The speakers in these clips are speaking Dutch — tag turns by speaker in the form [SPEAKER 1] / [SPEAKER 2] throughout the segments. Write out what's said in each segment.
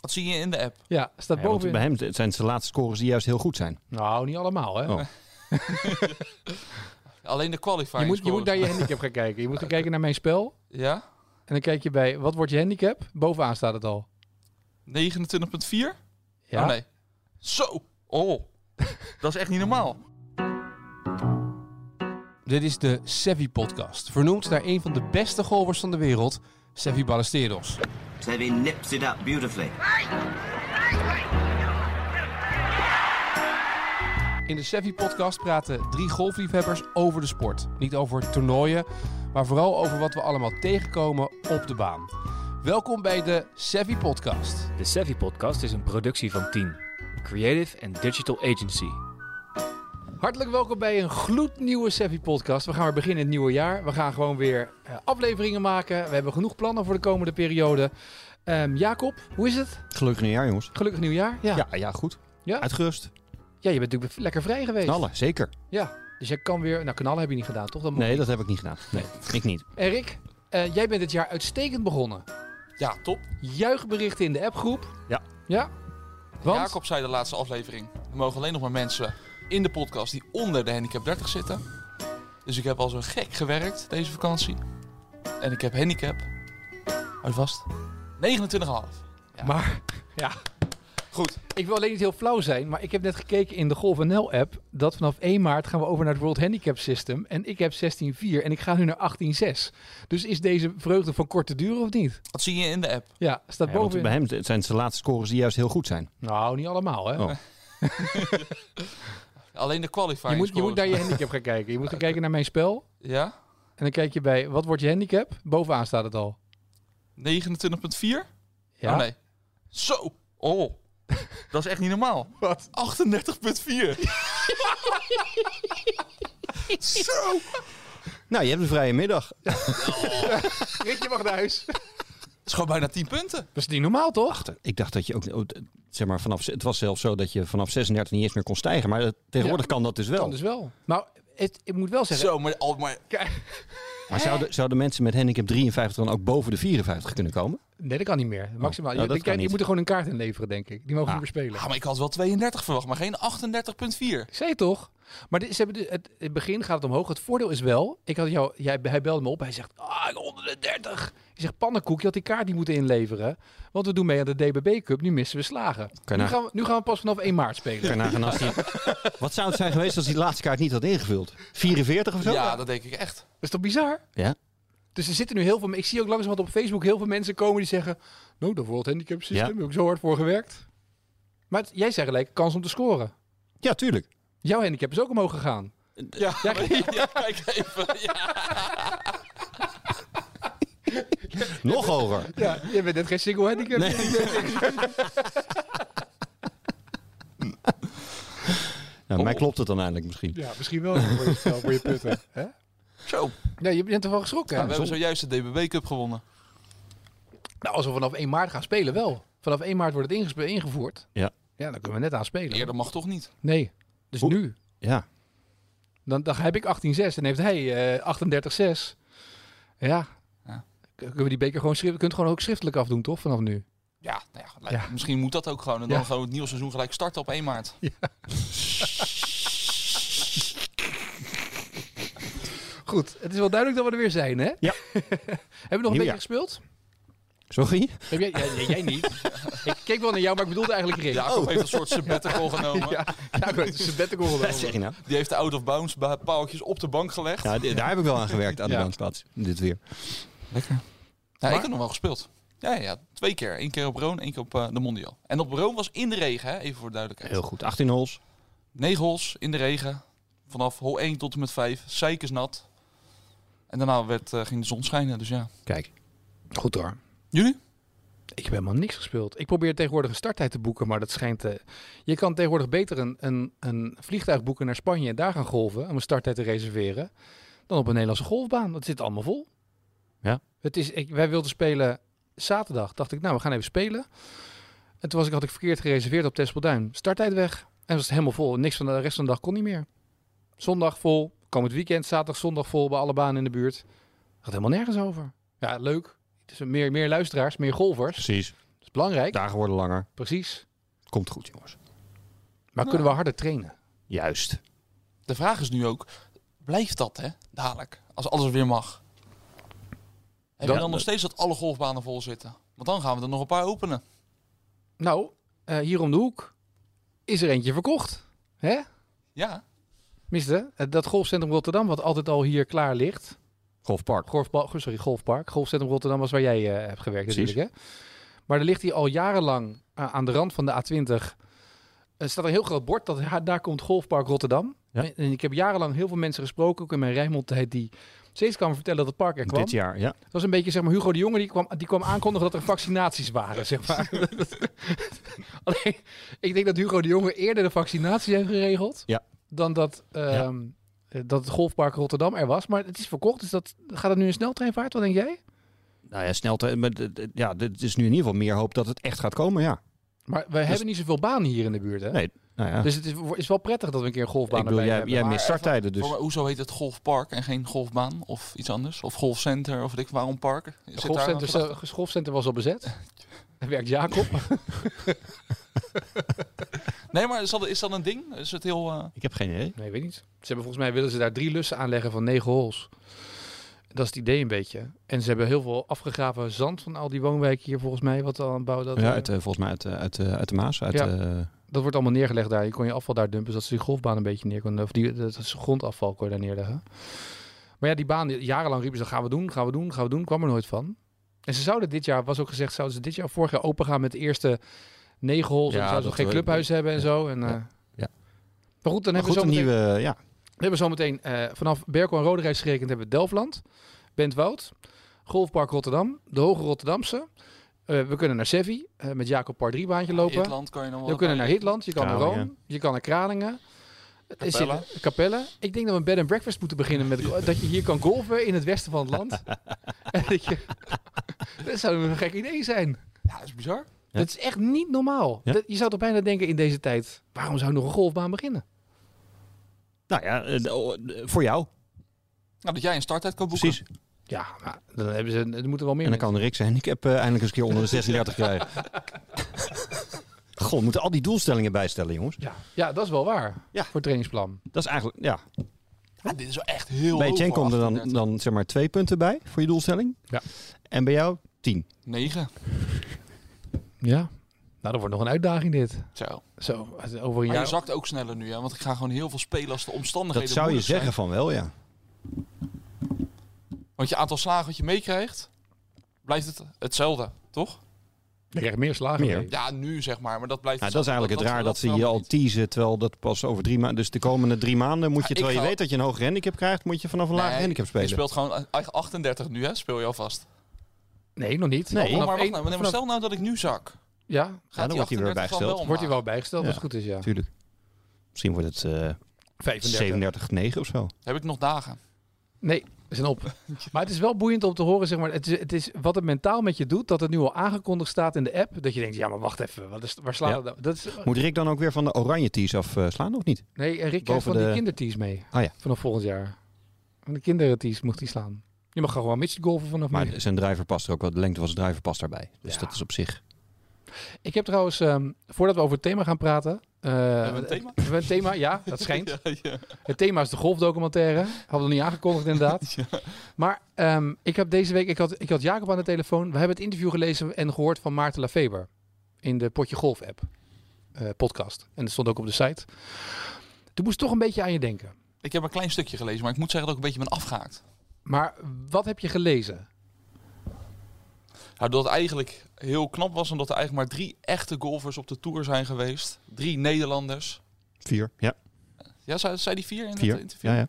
[SPEAKER 1] Dat zie je in de app.
[SPEAKER 2] Ja, staat
[SPEAKER 3] Ja, want
[SPEAKER 2] bovenin.
[SPEAKER 3] bij hem het zijn zijn laatste scores die juist heel goed zijn.
[SPEAKER 2] Nou, niet allemaal hè.
[SPEAKER 3] Oh.
[SPEAKER 1] Alleen de qualifying
[SPEAKER 2] Je moet, je
[SPEAKER 1] scores.
[SPEAKER 2] moet naar je handicap gaan kijken. Je moet gaan kijken naar mijn spel.
[SPEAKER 1] Ja?
[SPEAKER 2] En dan kijk je bij, wat wordt je handicap? Bovenaan staat het al.
[SPEAKER 1] 29,4?
[SPEAKER 2] Ja,
[SPEAKER 1] Oh nee. Zo! Oh. Dat is echt niet normaal.
[SPEAKER 4] Dit is de Sevi Podcast, vernoemd naar een van de beste golvers van de wereld, Sevi Ballesteros.
[SPEAKER 5] Sevi nips it up beautifully.
[SPEAKER 4] In de Sevi Podcast praten drie golfliefhebbers over de sport. Niet over toernooien, maar vooral over wat we allemaal tegenkomen op de baan. Welkom bij de Sevi Podcast.
[SPEAKER 6] De Savvy Podcast is een productie van Team, Creative and Digital Agency.
[SPEAKER 2] Hartelijk welkom bij een gloednieuwe Sevi podcast. We gaan weer beginnen in het nieuwe jaar. We gaan gewoon weer eh, afleveringen maken. We hebben genoeg plannen voor de komende periode. Ehm, Jacob, hoe is het?
[SPEAKER 3] Gelukkig nieuwjaar, jongens.
[SPEAKER 2] Gelukkig nieuwjaar. Ja. ja.
[SPEAKER 3] Ja, ja, goed.
[SPEAKER 2] Ja?
[SPEAKER 3] Uitgerust.
[SPEAKER 2] je bent natuurlijk lekker vrij geweest.
[SPEAKER 3] Knallen, zeker.
[SPEAKER 2] Ja. Dus jij kan weer. Nou, knallen heb je niet gedaan, toch? Dat moet-
[SPEAKER 3] Nee, dat heb ik niet gedaan. Nee, ik niet.
[SPEAKER 2] Erik, eh, jij bent dit jaar uitstekend begonnen.
[SPEAKER 1] Ja, top.
[SPEAKER 2] Juichberichten in de appgroep.
[SPEAKER 3] Ja.
[SPEAKER 2] Ja. Want
[SPEAKER 1] Jacob zei de laatste aflevering. Er mogen alleen nog maar mensen in de podcast die onder de handicap 30 zitten. Dus ik heb al zo gek gewerkt deze vakantie. En ik heb handicap. Houd vast. 29,5. Ja.
[SPEAKER 2] Maar ja,
[SPEAKER 1] Goed.
[SPEAKER 2] ik wil alleen niet heel flauw zijn, maar ik heb net gekeken in de Golf NL app dat vanaf 1 maart gaan we over naar het World Handicap System en ik heb 16.4 en ik ga nu naar 18.6. Dus is deze vreugde van korte duur of niet?
[SPEAKER 1] Dat zie je in de app.
[SPEAKER 2] Ja, staat
[SPEAKER 3] Ja, want
[SPEAKER 2] bovenin.
[SPEAKER 3] bij hem het zijn zijn laatste scores die juist heel goed zijn.
[SPEAKER 2] Nou, niet allemaal hè.
[SPEAKER 3] Oh.
[SPEAKER 1] Alleen de qualifying
[SPEAKER 2] Je moet, je
[SPEAKER 1] scores.
[SPEAKER 2] moet naar je handicap gaan kijken. Je moet gaan kijken naar mijn spel
[SPEAKER 1] Ja?
[SPEAKER 2] en dan kijk je bij wat wordt je handicap? Bovenaan staat het al.
[SPEAKER 1] 29,4?
[SPEAKER 2] Ja.
[SPEAKER 1] Oh nee. Zo! Oh. Dat is echt niet normaal.
[SPEAKER 2] Wat?
[SPEAKER 1] 38,4. Zo!
[SPEAKER 3] Nou, je hebt een vrije middag.
[SPEAKER 2] Rick, je mag naar huis. Dat
[SPEAKER 1] Dat is gewoon bijna 10 punten.
[SPEAKER 2] is niet normaal toch?
[SPEAKER 3] Ik dacht dat je ook, oh, d- zeg maar, vanaf, het was zelfs zo dat je vanaf 36 niet eens meer kon stijgen. Maar eh, tegenwoordig kan dat dus wel.
[SPEAKER 2] Kan dus wel. Maar het, ik moet wel zeggen,
[SPEAKER 1] Zo, maar, al, maar
[SPEAKER 3] Maar zouden, zouden mensen met handicap 53 dan ook boven de 54 kunnen komen?
[SPEAKER 2] Nee, dat kan niet meer. Maximaal.
[SPEAKER 3] nou,
[SPEAKER 2] je,
[SPEAKER 3] dat
[SPEAKER 2] die-
[SPEAKER 3] kan
[SPEAKER 2] die
[SPEAKER 3] niet.
[SPEAKER 2] moeten gewoon een kaart inleveren, denk ik. Die mogen
[SPEAKER 3] Ah.
[SPEAKER 2] niet meer spelen.
[SPEAKER 1] Ja, maar ik had wel 32 verwacht, maar geen 38,4.
[SPEAKER 2] Ik zei het toch? Maar dit, ze hebben de- het, in het begin gaat het omhoog. Het voordeel is wel, ik had jou, jij, hij belde me op. Hij zegt, ah, ik ben onder de 30. Ik zeg, pannenkoek, je had die kaart niet moeten inleveren. Want we doen mee aan de DBB Cup. Nu missen we slagen.
[SPEAKER 3] Kan
[SPEAKER 2] Nu
[SPEAKER 3] nou-
[SPEAKER 2] gaan, we, nu gaan we pas vanaf 1 maart spelen.
[SPEAKER 3] Kan je nagaan als die- Wat zou het zijn geweest als die laatste kaart niet had ingevuld? 44 of zo?
[SPEAKER 1] Ja, dat denk ik echt.
[SPEAKER 2] Dat is toch bizar?
[SPEAKER 3] Ja.
[SPEAKER 2] Dus er zitten nu heel veel... Ik zie ook langzamerhand op Facebook heel veel mensen komen die zeggen... Nou, dat World Handicap System,
[SPEAKER 3] Ja.
[SPEAKER 2] daar heb ik zo hard voor gewerkt. Maar het- jij zei gelijk, kans om te scoren.
[SPEAKER 3] Ja, tuurlijk.
[SPEAKER 2] Jouw handicap is ook omhoog gegaan.
[SPEAKER 1] Ja,
[SPEAKER 2] Ja,
[SPEAKER 1] ja, kijk even. Ja.
[SPEAKER 3] Nog hoger.
[SPEAKER 2] Ja, je bent net geen single handicap.
[SPEAKER 3] Nou,
[SPEAKER 2] Oh.
[SPEAKER 3] mij klopt het dan eindelijk misschien.
[SPEAKER 2] Ja, misschien wel voor je, spel, voor je putten. Hè?
[SPEAKER 1] Zo, nou,
[SPEAKER 2] Ja, je bent ervan geschrokken.
[SPEAKER 1] we hebben zojuist de DBB Cup gewonnen.
[SPEAKER 2] Nou, als we vanaf 1 maart gaan spelen, wel. Vanaf 1 maart wordt het ingespe- ingevoerd.
[SPEAKER 3] Ja.
[SPEAKER 2] Ja, dan kunnen we net aan spelen.
[SPEAKER 1] Eerder mag toch niet?
[SPEAKER 2] Nee, dus
[SPEAKER 3] Hoe-
[SPEAKER 2] nu.
[SPEAKER 3] Ja.
[SPEAKER 2] Dan, dan heb ik 18-6 en heeft hij eh 38-6. Ja.
[SPEAKER 1] Ja.
[SPEAKER 2] K- Kunnen we die beker gewoon schriftelijk... Kunt gewoon ook schriftelijk afdoen, toch? Vanaf nu.
[SPEAKER 1] Ja, nou ja, lijkt-
[SPEAKER 2] Ja.
[SPEAKER 1] misschien moet dat ook gewoon. En dan
[SPEAKER 2] Ja.
[SPEAKER 1] gewoon het nieuwe seizoen gelijk starten op 1 maart.
[SPEAKER 2] Goed, het is wel duidelijk dat we er weer zijn, hè?
[SPEAKER 3] Ja.
[SPEAKER 2] Hebben we nog een beetje
[SPEAKER 3] Nieuwjaar.
[SPEAKER 2] gespeeld?
[SPEAKER 3] Sorry?
[SPEAKER 2] Heb jij, jij, jij niet. ik keek wel naar jou, maar ik bedoelde eigenlijk Rick.
[SPEAKER 1] Jacob heeft een soort sabbatical genomen.
[SPEAKER 2] Ja, ja, maar het is een bettengoal
[SPEAKER 3] Wat
[SPEAKER 2] genomen.
[SPEAKER 3] zeg je nou?
[SPEAKER 1] Die heeft de out-of-bounds ba- paaltjes op de bank gelegd.
[SPEAKER 3] Ja, d- daar heb ik wel aan gewerkt aan de
[SPEAKER 2] Ja.
[SPEAKER 3] dansplaats. Dit weer.
[SPEAKER 1] Lekker. ik heb nog wel gespeeld. Ja, ja, ja, twee keer. Eén keer op Roon, één keer op eh, de Mondial. En op Roon was in de regen, hè? even voor de duidelijkheid.
[SPEAKER 3] Heel goed. 18 holes.
[SPEAKER 1] Negen holes in de regen. Vanaf hol 1 tot en met 5. Zeikers nat. En daarna werd, eh, ging de zon schijnen, dus ja.
[SPEAKER 3] Kijk.
[SPEAKER 2] Goed hoor.
[SPEAKER 1] Jullie?
[SPEAKER 2] Ik heb helemaal niks gespeeld. Ik probeer tegenwoordig een starttijd te boeken, maar dat schijnt... eh, je kan tegenwoordig beter een, een, een vliegtuig boeken naar Spanje en daar gaan golven om een starttijd te reserveren, dan op een Nederlandse golfbaan. Dat zit allemaal vol.
[SPEAKER 3] Ja.
[SPEAKER 2] Het is, ik, wij wilden spelen zaterdag. Dacht ik, nou, we gaan even spelen. En toen was ik, had ik verkeerd gereserveerd op Tespelduin. Starttijd weg. En was het helemaal vol. Niks van de rest van de dag kon niet meer. Zondag vol. Komend weekend, zaterdag, zondag vol bij alle banen in de buurt. Gaat helemaal nergens over. Ja, leuk. Het is meer, meer luisteraars, meer golvers.
[SPEAKER 3] Precies.
[SPEAKER 2] Dus is belangrijk.
[SPEAKER 3] Dagen worden langer.
[SPEAKER 2] Precies.
[SPEAKER 3] Komt goed, jongens.
[SPEAKER 2] Maar
[SPEAKER 1] Ja.
[SPEAKER 2] kunnen we harder trainen?
[SPEAKER 3] Juist.
[SPEAKER 1] De vraag is nu ook, blijft dat hè, dadelijk, als alles weer mag? Heb
[SPEAKER 2] Dan-
[SPEAKER 1] je dan nog steeds dat alle golfbanen vol zitten? Want dan gaan we er nog een paar openen.
[SPEAKER 2] Nou, eh, hier om de hoek is er eentje verkocht. Hè?
[SPEAKER 1] Ja,
[SPEAKER 2] Miste, eh, dat golfcentrum Rotterdam, wat altijd al hier klaar ligt.
[SPEAKER 3] Golfpark.
[SPEAKER 2] Golfbal, oh, sorry, golfpark. Golfcentrum Rotterdam was waar jij eh, hebt gewerkt
[SPEAKER 3] Precies.
[SPEAKER 2] natuurlijk. Hè? Maar er ligt hier al jarenlang eh, aan de rand van de A20. Er staat een heel groot bord dat ja, daar komt Golfpark Rotterdam.
[SPEAKER 3] Ja.
[SPEAKER 2] En, en ik heb jarenlang heel veel mensen gesproken, ook in mijn Rijnmond-tijd, die steeds kwamen vertellen dat het park er kwam.
[SPEAKER 3] Dit jaar, ja.
[SPEAKER 2] Het was een beetje zeg maar Hugo de Jonge die kwam, die kwam aankondigen dat er vaccinaties waren. Zeg maar. Alleen, ik denk dat Hugo de Jonge eerder de vaccinaties heeft geregeld
[SPEAKER 3] Ja.
[SPEAKER 2] dan dat, ehm, dat het golfpark Rotterdam er was. Maar het is verkocht, dus dat, gaat het nu een sneltreinvaart? Wat denk jij?
[SPEAKER 3] Nou ja, snel. te- maar d- d- ja, dit is nu in ieder geval meer hoop dat het echt gaat komen, ja.
[SPEAKER 2] Maar wij hebben niet zoveel banen hier in de buurt. Hè?
[SPEAKER 3] Dus- Nee, Nou ja.
[SPEAKER 2] Dus het is, is wel prettig dat we een keer een golfbaan
[SPEAKER 3] ik bedoel,
[SPEAKER 2] erbij
[SPEAKER 3] jij,
[SPEAKER 2] hebben.
[SPEAKER 3] jij
[SPEAKER 1] maar
[SPEAKER 3] mist
[SPEAKER 1] even-
[SPEAKER 3] starttijden, dus
[SPEAKER 1] voor mij, hoezo heet het golfpark en geen golfbaan of iets anders? Of golfcenter of weet ik waarom park? Zit daar
[SPEAKER 2] Het
[SPEAKER 1] een
[SPEAKER 2] golfcenter,
[SPEAKER 1] gedachte?
[SPEAKER 2] het golfcenter was al bezet. Daar werkt Jacob.
[SPEAKER 1] Nee, maar is dat, is dat een ding? Is het heel... eh,
[SPEAKER 3] ik heb geen idee.
[SPEAKER 2] Nee, weet niet. Ze hebben volgens mij willen ze daar drie lussen aanleggen van negen holes. Dat is het idee een beetje. En ze hebben heel veel afgegraven zand van al die woonwijken hier volgens mij. Wat al aan het bouwen dat,
[SPEAKER 3] Ja,
[SPEAKER 2] eh,
[SPEAKER 3] uit, eh, volgens mij uit, eh, uit, eh, uit de Maas. Uit,
[SPEAKER 2] Ja.
[SPEAKER 3] eh,
[SPEAKER 2] dat wordt allemaal neergelegd daar. Je kon je afval daar dumpen, zodat ze die golfbaan een beetje neer konden. Of die dat is grondafval kon je daar neerleggen. Maar ja, die baan, die- jarenlang riepen ze, gaan we doen, gaan we doen, gaan we doen. Kwam er nooit van. En ze zouden dit jaar, was ook gezegd, zouden ze dit jaar vorig jaar open gaan met de eerste negen holes.
[SPEAKER 3] Ja,
[SPEAKER 2] en dan zouden ze
[SPEAKER 3] dat
[SPEAKER 2] nog geen
[SPEAKER 3] we-
[SPEAKER 2] clubhuis hebben en
[SPEAKER 3] ja,
[SPEAKER 2] zo. En, eh,
[SPEAKER 3] ja.
[SPEAKER 2] Maar goed, dan hebben
[SPEAKER 3] maar goed,
[SPEAKER 2] we zo
[SPEAKER 3] een
[SPEAKER 2] meteen-
[SPEAKER 3] nieuwe... Ja,
[SPEAKER 2] We hebben zometeen eh vanaf Berkel en Roderijs gerekend hebben we Delftland, Bentwoud, Golfpark Rotterdam, de Hoge Rotterdamse. Eh, we kunnen naar Sevi eh, met Jacob par 3 baantje lopen.
[SPEAKER 1] Hitland kan je dan wel
[SPEAKER 2] We kunnen naar Hitland, je kan naar Room,
[SPEAKER 3] Kralingen.
[SPEAKER 2] je kan naar Kralingen. Het is
[SPEAKER 1] Capelle.
[SPEAKER 2] hier- Capelle. Ik denk dat we een bed and breakfast moeten beginnen met dat je hier kan golven in het westen van het land. en dat, je, dat zou een gek idee zijn.
[SPEAKER 1] Ja, dat is bizar.
[SPEAKER 3] Ja.
[SPEAKER 2] Dat is echt niet normaal.
[SPEAKER 3] Ja.
[SPEAKER 2] Dat- je zou toch bijna denken in deze tijd, waarom zou nog een golfbaan beginnen?
[SPEAKER 3] nou ja, eh, de- oh, de- voor jou.
[SPEAKER 1] Nou, dat jij een starttijd kan boeken.
[SPEAKER 3] Precies.
[SPEAKER 2] Ja, maar dan hebben ze, er moeten wel meer
[SPEAKER 3] En dan
[SPEAKER 2] mensen-
[SPEAKER 3] kan Rick zijn. Ik heb eh, eindelijk eens een keer onder de 36 krijgen. Goh, we moeten al die doelstellingen bijstellen, jongens.
[SPEAKER 2] Ja, ja dat is wel waar.
[SPEAKER 3] Ja.
[SPEAKER 2] Voor het trainingsplan.
[SPEAKER 3] Dat is eigenlijk, ja.
[SPEAKER 1] Ja, dit is wel echt heel
[SPEAKER 3] Bij
[SPEAKER 1] hoog
[SPEAKER 3] Jen
[SPEAKER 1] voor
[SPEAKER 3] komen er dan,
[SPEAKER 1] 38.
[SPEAKER 3] dan zeg maar twee punten bij voor je doelstelling.
[SPEAKER 2] Ja.
[SPEAKER 3] En bij jou tien.
[SPEAKER 1] Negen.
[SPEAKER 2] Ja. Nou, dat wordt nog een uitdaging dit.
[SPEAKER 1] Zo.
[SPEAKER 2] Zo, over een
[SPEAKER 1] Maar je
[SPEAKER 2] jaar.
[SPEAKER 1] zakt ook sneller nu, hè? Want ik ga gewoon heel veel spelen als de omstandigheden
[SPEAKER 3] Dat zou je
[SPEAKER 1] moeilijk zijn.
[SPEAKER 3] zeggen van wel, ja. Nou,
[SPEAKER 1] Want je aantal slagen wat je meekrijgt, blijft het hetzelfde, toch?
[SPEAKER 2] Je krijgt meer slagen.
[SPEAKER 3] Meer.
[SPEAKER 2] mee.
[SPEAKER 1] Ja, nu zeg maar, maar dat blijft
[SPEAKER 3] Nou, dat is
[SPEAKER 1] hetzelfde.
[SPEAKER 3] eigenlijk het raar dat ze je al
[SPEAKER 1] verandert niet.
[SPEAKER 3] teasen, terwijl dat pas over drie maanden... Dus de komende drie maanden moet
[SPEAKER 1] Ja,
[SPEAKER 3] je,
[SPEAKER 1] ik
[SPEAKER 3] terwijl je
[SPEAKER 1] ga-
[SPEAKER 3] weet dat je een hoger handicap krijgt... moet je vanaf een lager
[SPEAKER 1] Nee,
[SPEAKER 3] handicap spelen.
[SPEAKER 1] Je speelt gewoon eigen 38 nu, hè? Speel je alvast.
[SPEAKER 2] Nee, nog niet.
[SPEAKER 3] Nee.
[SPEAKER 2] Vanaf
[SPEAKER 1] Oh, maar wacht
[SPEAKER 2] één-
[SPEAKER 1] nou, maar
[SPEAKER 2] vanaf-
[SPEAKER 1] stel nou dat ik nu zak.
[SPEAKER 2] Ja,
[SPEAKER 1] Gaat
[SPEAKER 3] dan
[SPEAKER 1] die
[SPEAKER 3] wordt hij weer
[SPEAKER 1] 38 dan
[SPEAKER 3] bijgesteld.
[SPEAKER 1] wel
[SPEAKER 2] wordt hij
[SPEAKER 1] omlaag?
[SPEAKER 2] wel bijgesteld als het goed is, ja.
[SPEAKER 3] Tuurlijk. Misschien wordt het eh 37-9 of zo.
[SPEAKER 1] Heb ik nog dagen?
[SPEAKER 2] Nee, we zijn op. maar het is wel boeiend om te horen, zeg maar. Het is, het is wat het mentaal met je doet, dat het nu al aangekondigd staat in de app. Dat je denkt, ja, maar wacht even, wat is, waar slaat
[SPEAKER 3] Ja.
[SPEAKER 2] het nou- dat? Is,
[SPEAKER 3] Moet Rick dan ook weer van de oranje tees afslaan of niet?
[SPEAKER 2] nee, en Rick krijgt
[SPEAKER 3] Boven
[SPEAKER 2] van die
[SPEAKER 3] de-
[SPEAKER 2] kindertees mee.
[SPEAKER 3] Ah, ja.
[SPEAKER 2] Vanaf volgend jaar. Van de kindertees moet hij slaan. Je mag gewoon midget golven vanaf nu.
[SPEAKER 3] Maar zijn driver past er ook wel. De lengte van zijn driver past daarbij. Dus
[SPEAKER 2] Ja.
[SPEAKER 3] dat is op zich.
[SPEAKER 2] Ik heb trouwens, ehm, voordat we over het thema gaan praten. eh,
[SPEAKER 1] Hebben we een thema?
[SPEAKER 2] we hebben een thema, ja, dat schijnt.
[SPEAKER 1] Ja, ja.
[SPEAKER 2] Het thema is de golfdocumentaire. Hadden we nog niet aangekondigd, inderdaad. Maar ehm, ik heb deze week, ik had, ik had Jacob aan de telefoon. We hebben het interview gelezen en gehoord van Maarten Lafeber. In de Potje Golf app. eh, podcast. En dat stond ook op de site. Toen moest ik toch een beetje aan je denken.
[SPEAKER 1] Ik heb een klein stukje gelezen, maar ik moet zeggen dat ik een beetje ben afgehaakt.
[SPEAKER 2] Maar wat heb je gelezen?
[SPEAKER 1] Nou, dat het eigenlijk heel knap was, omdat er eigenlijk maar drie echte golfers op de tour zijn geweest. Drie Nederlanders.
[SPEAKER 3] Vier. Ja,
[SPEAKER 1] Ja, zei, zei die vier in het
[SPEAKER 3] vier.
[SPEAKER 1] interview?
[SPEAKER 3] Ja, ja.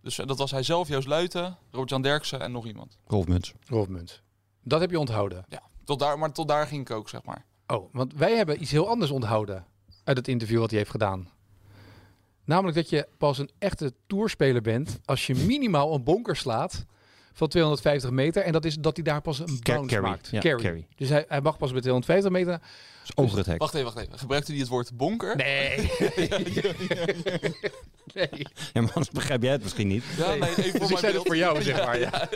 [SPEAKER 1] Dus eh, dat was hij zelf, Joost Luiten, Robert-Jan Derksen en nog iemand.
[SPEAKER 3] Golfmuts.
[SPEAKER 2] Rolfmunt. Dat heb je onthouden.
[SPEAKER 1] Tot daar, maar tot daar ging ik ook, zeg maar.
[SPEAKER 2] Oh, want wij hebben iets heel anders onthouden uit het interview wat hij heeft gedaan. Namelijk dat je pas een echte tourspeler bent als je minimaal een bonker slaat van 250 meter. En dat is dat hij daar pas een
[SPEAKER 3] Ca-
[SPEAKER 2] bounce
[SPEAKER 3] carry.
[SPEAKER 2] maakt.
[SPEAKER 3] Ja, carry.
[SPEAKER 2] Dus hij, hij mag pas met 250 meter.
[SPEAKER 3] is over het hek.
[SPEAKER 1] Wacht even, wacht even. Gebruikte hij het woord bonker?
[SPEAKER 2] Nee. nee.
[SPEAKER 3] Ja, maar anders begrijp jij het misschien niet.
[SPEAKER 1] Ja, nee, even
[SPEAKER 2] Dus ik
[SPEAKER 1] mijn
[SPEAKER 2] zei dat
[SPEAKER 1] beeld.
[SPEAKER 2] voor jou, zeg maar. Ja.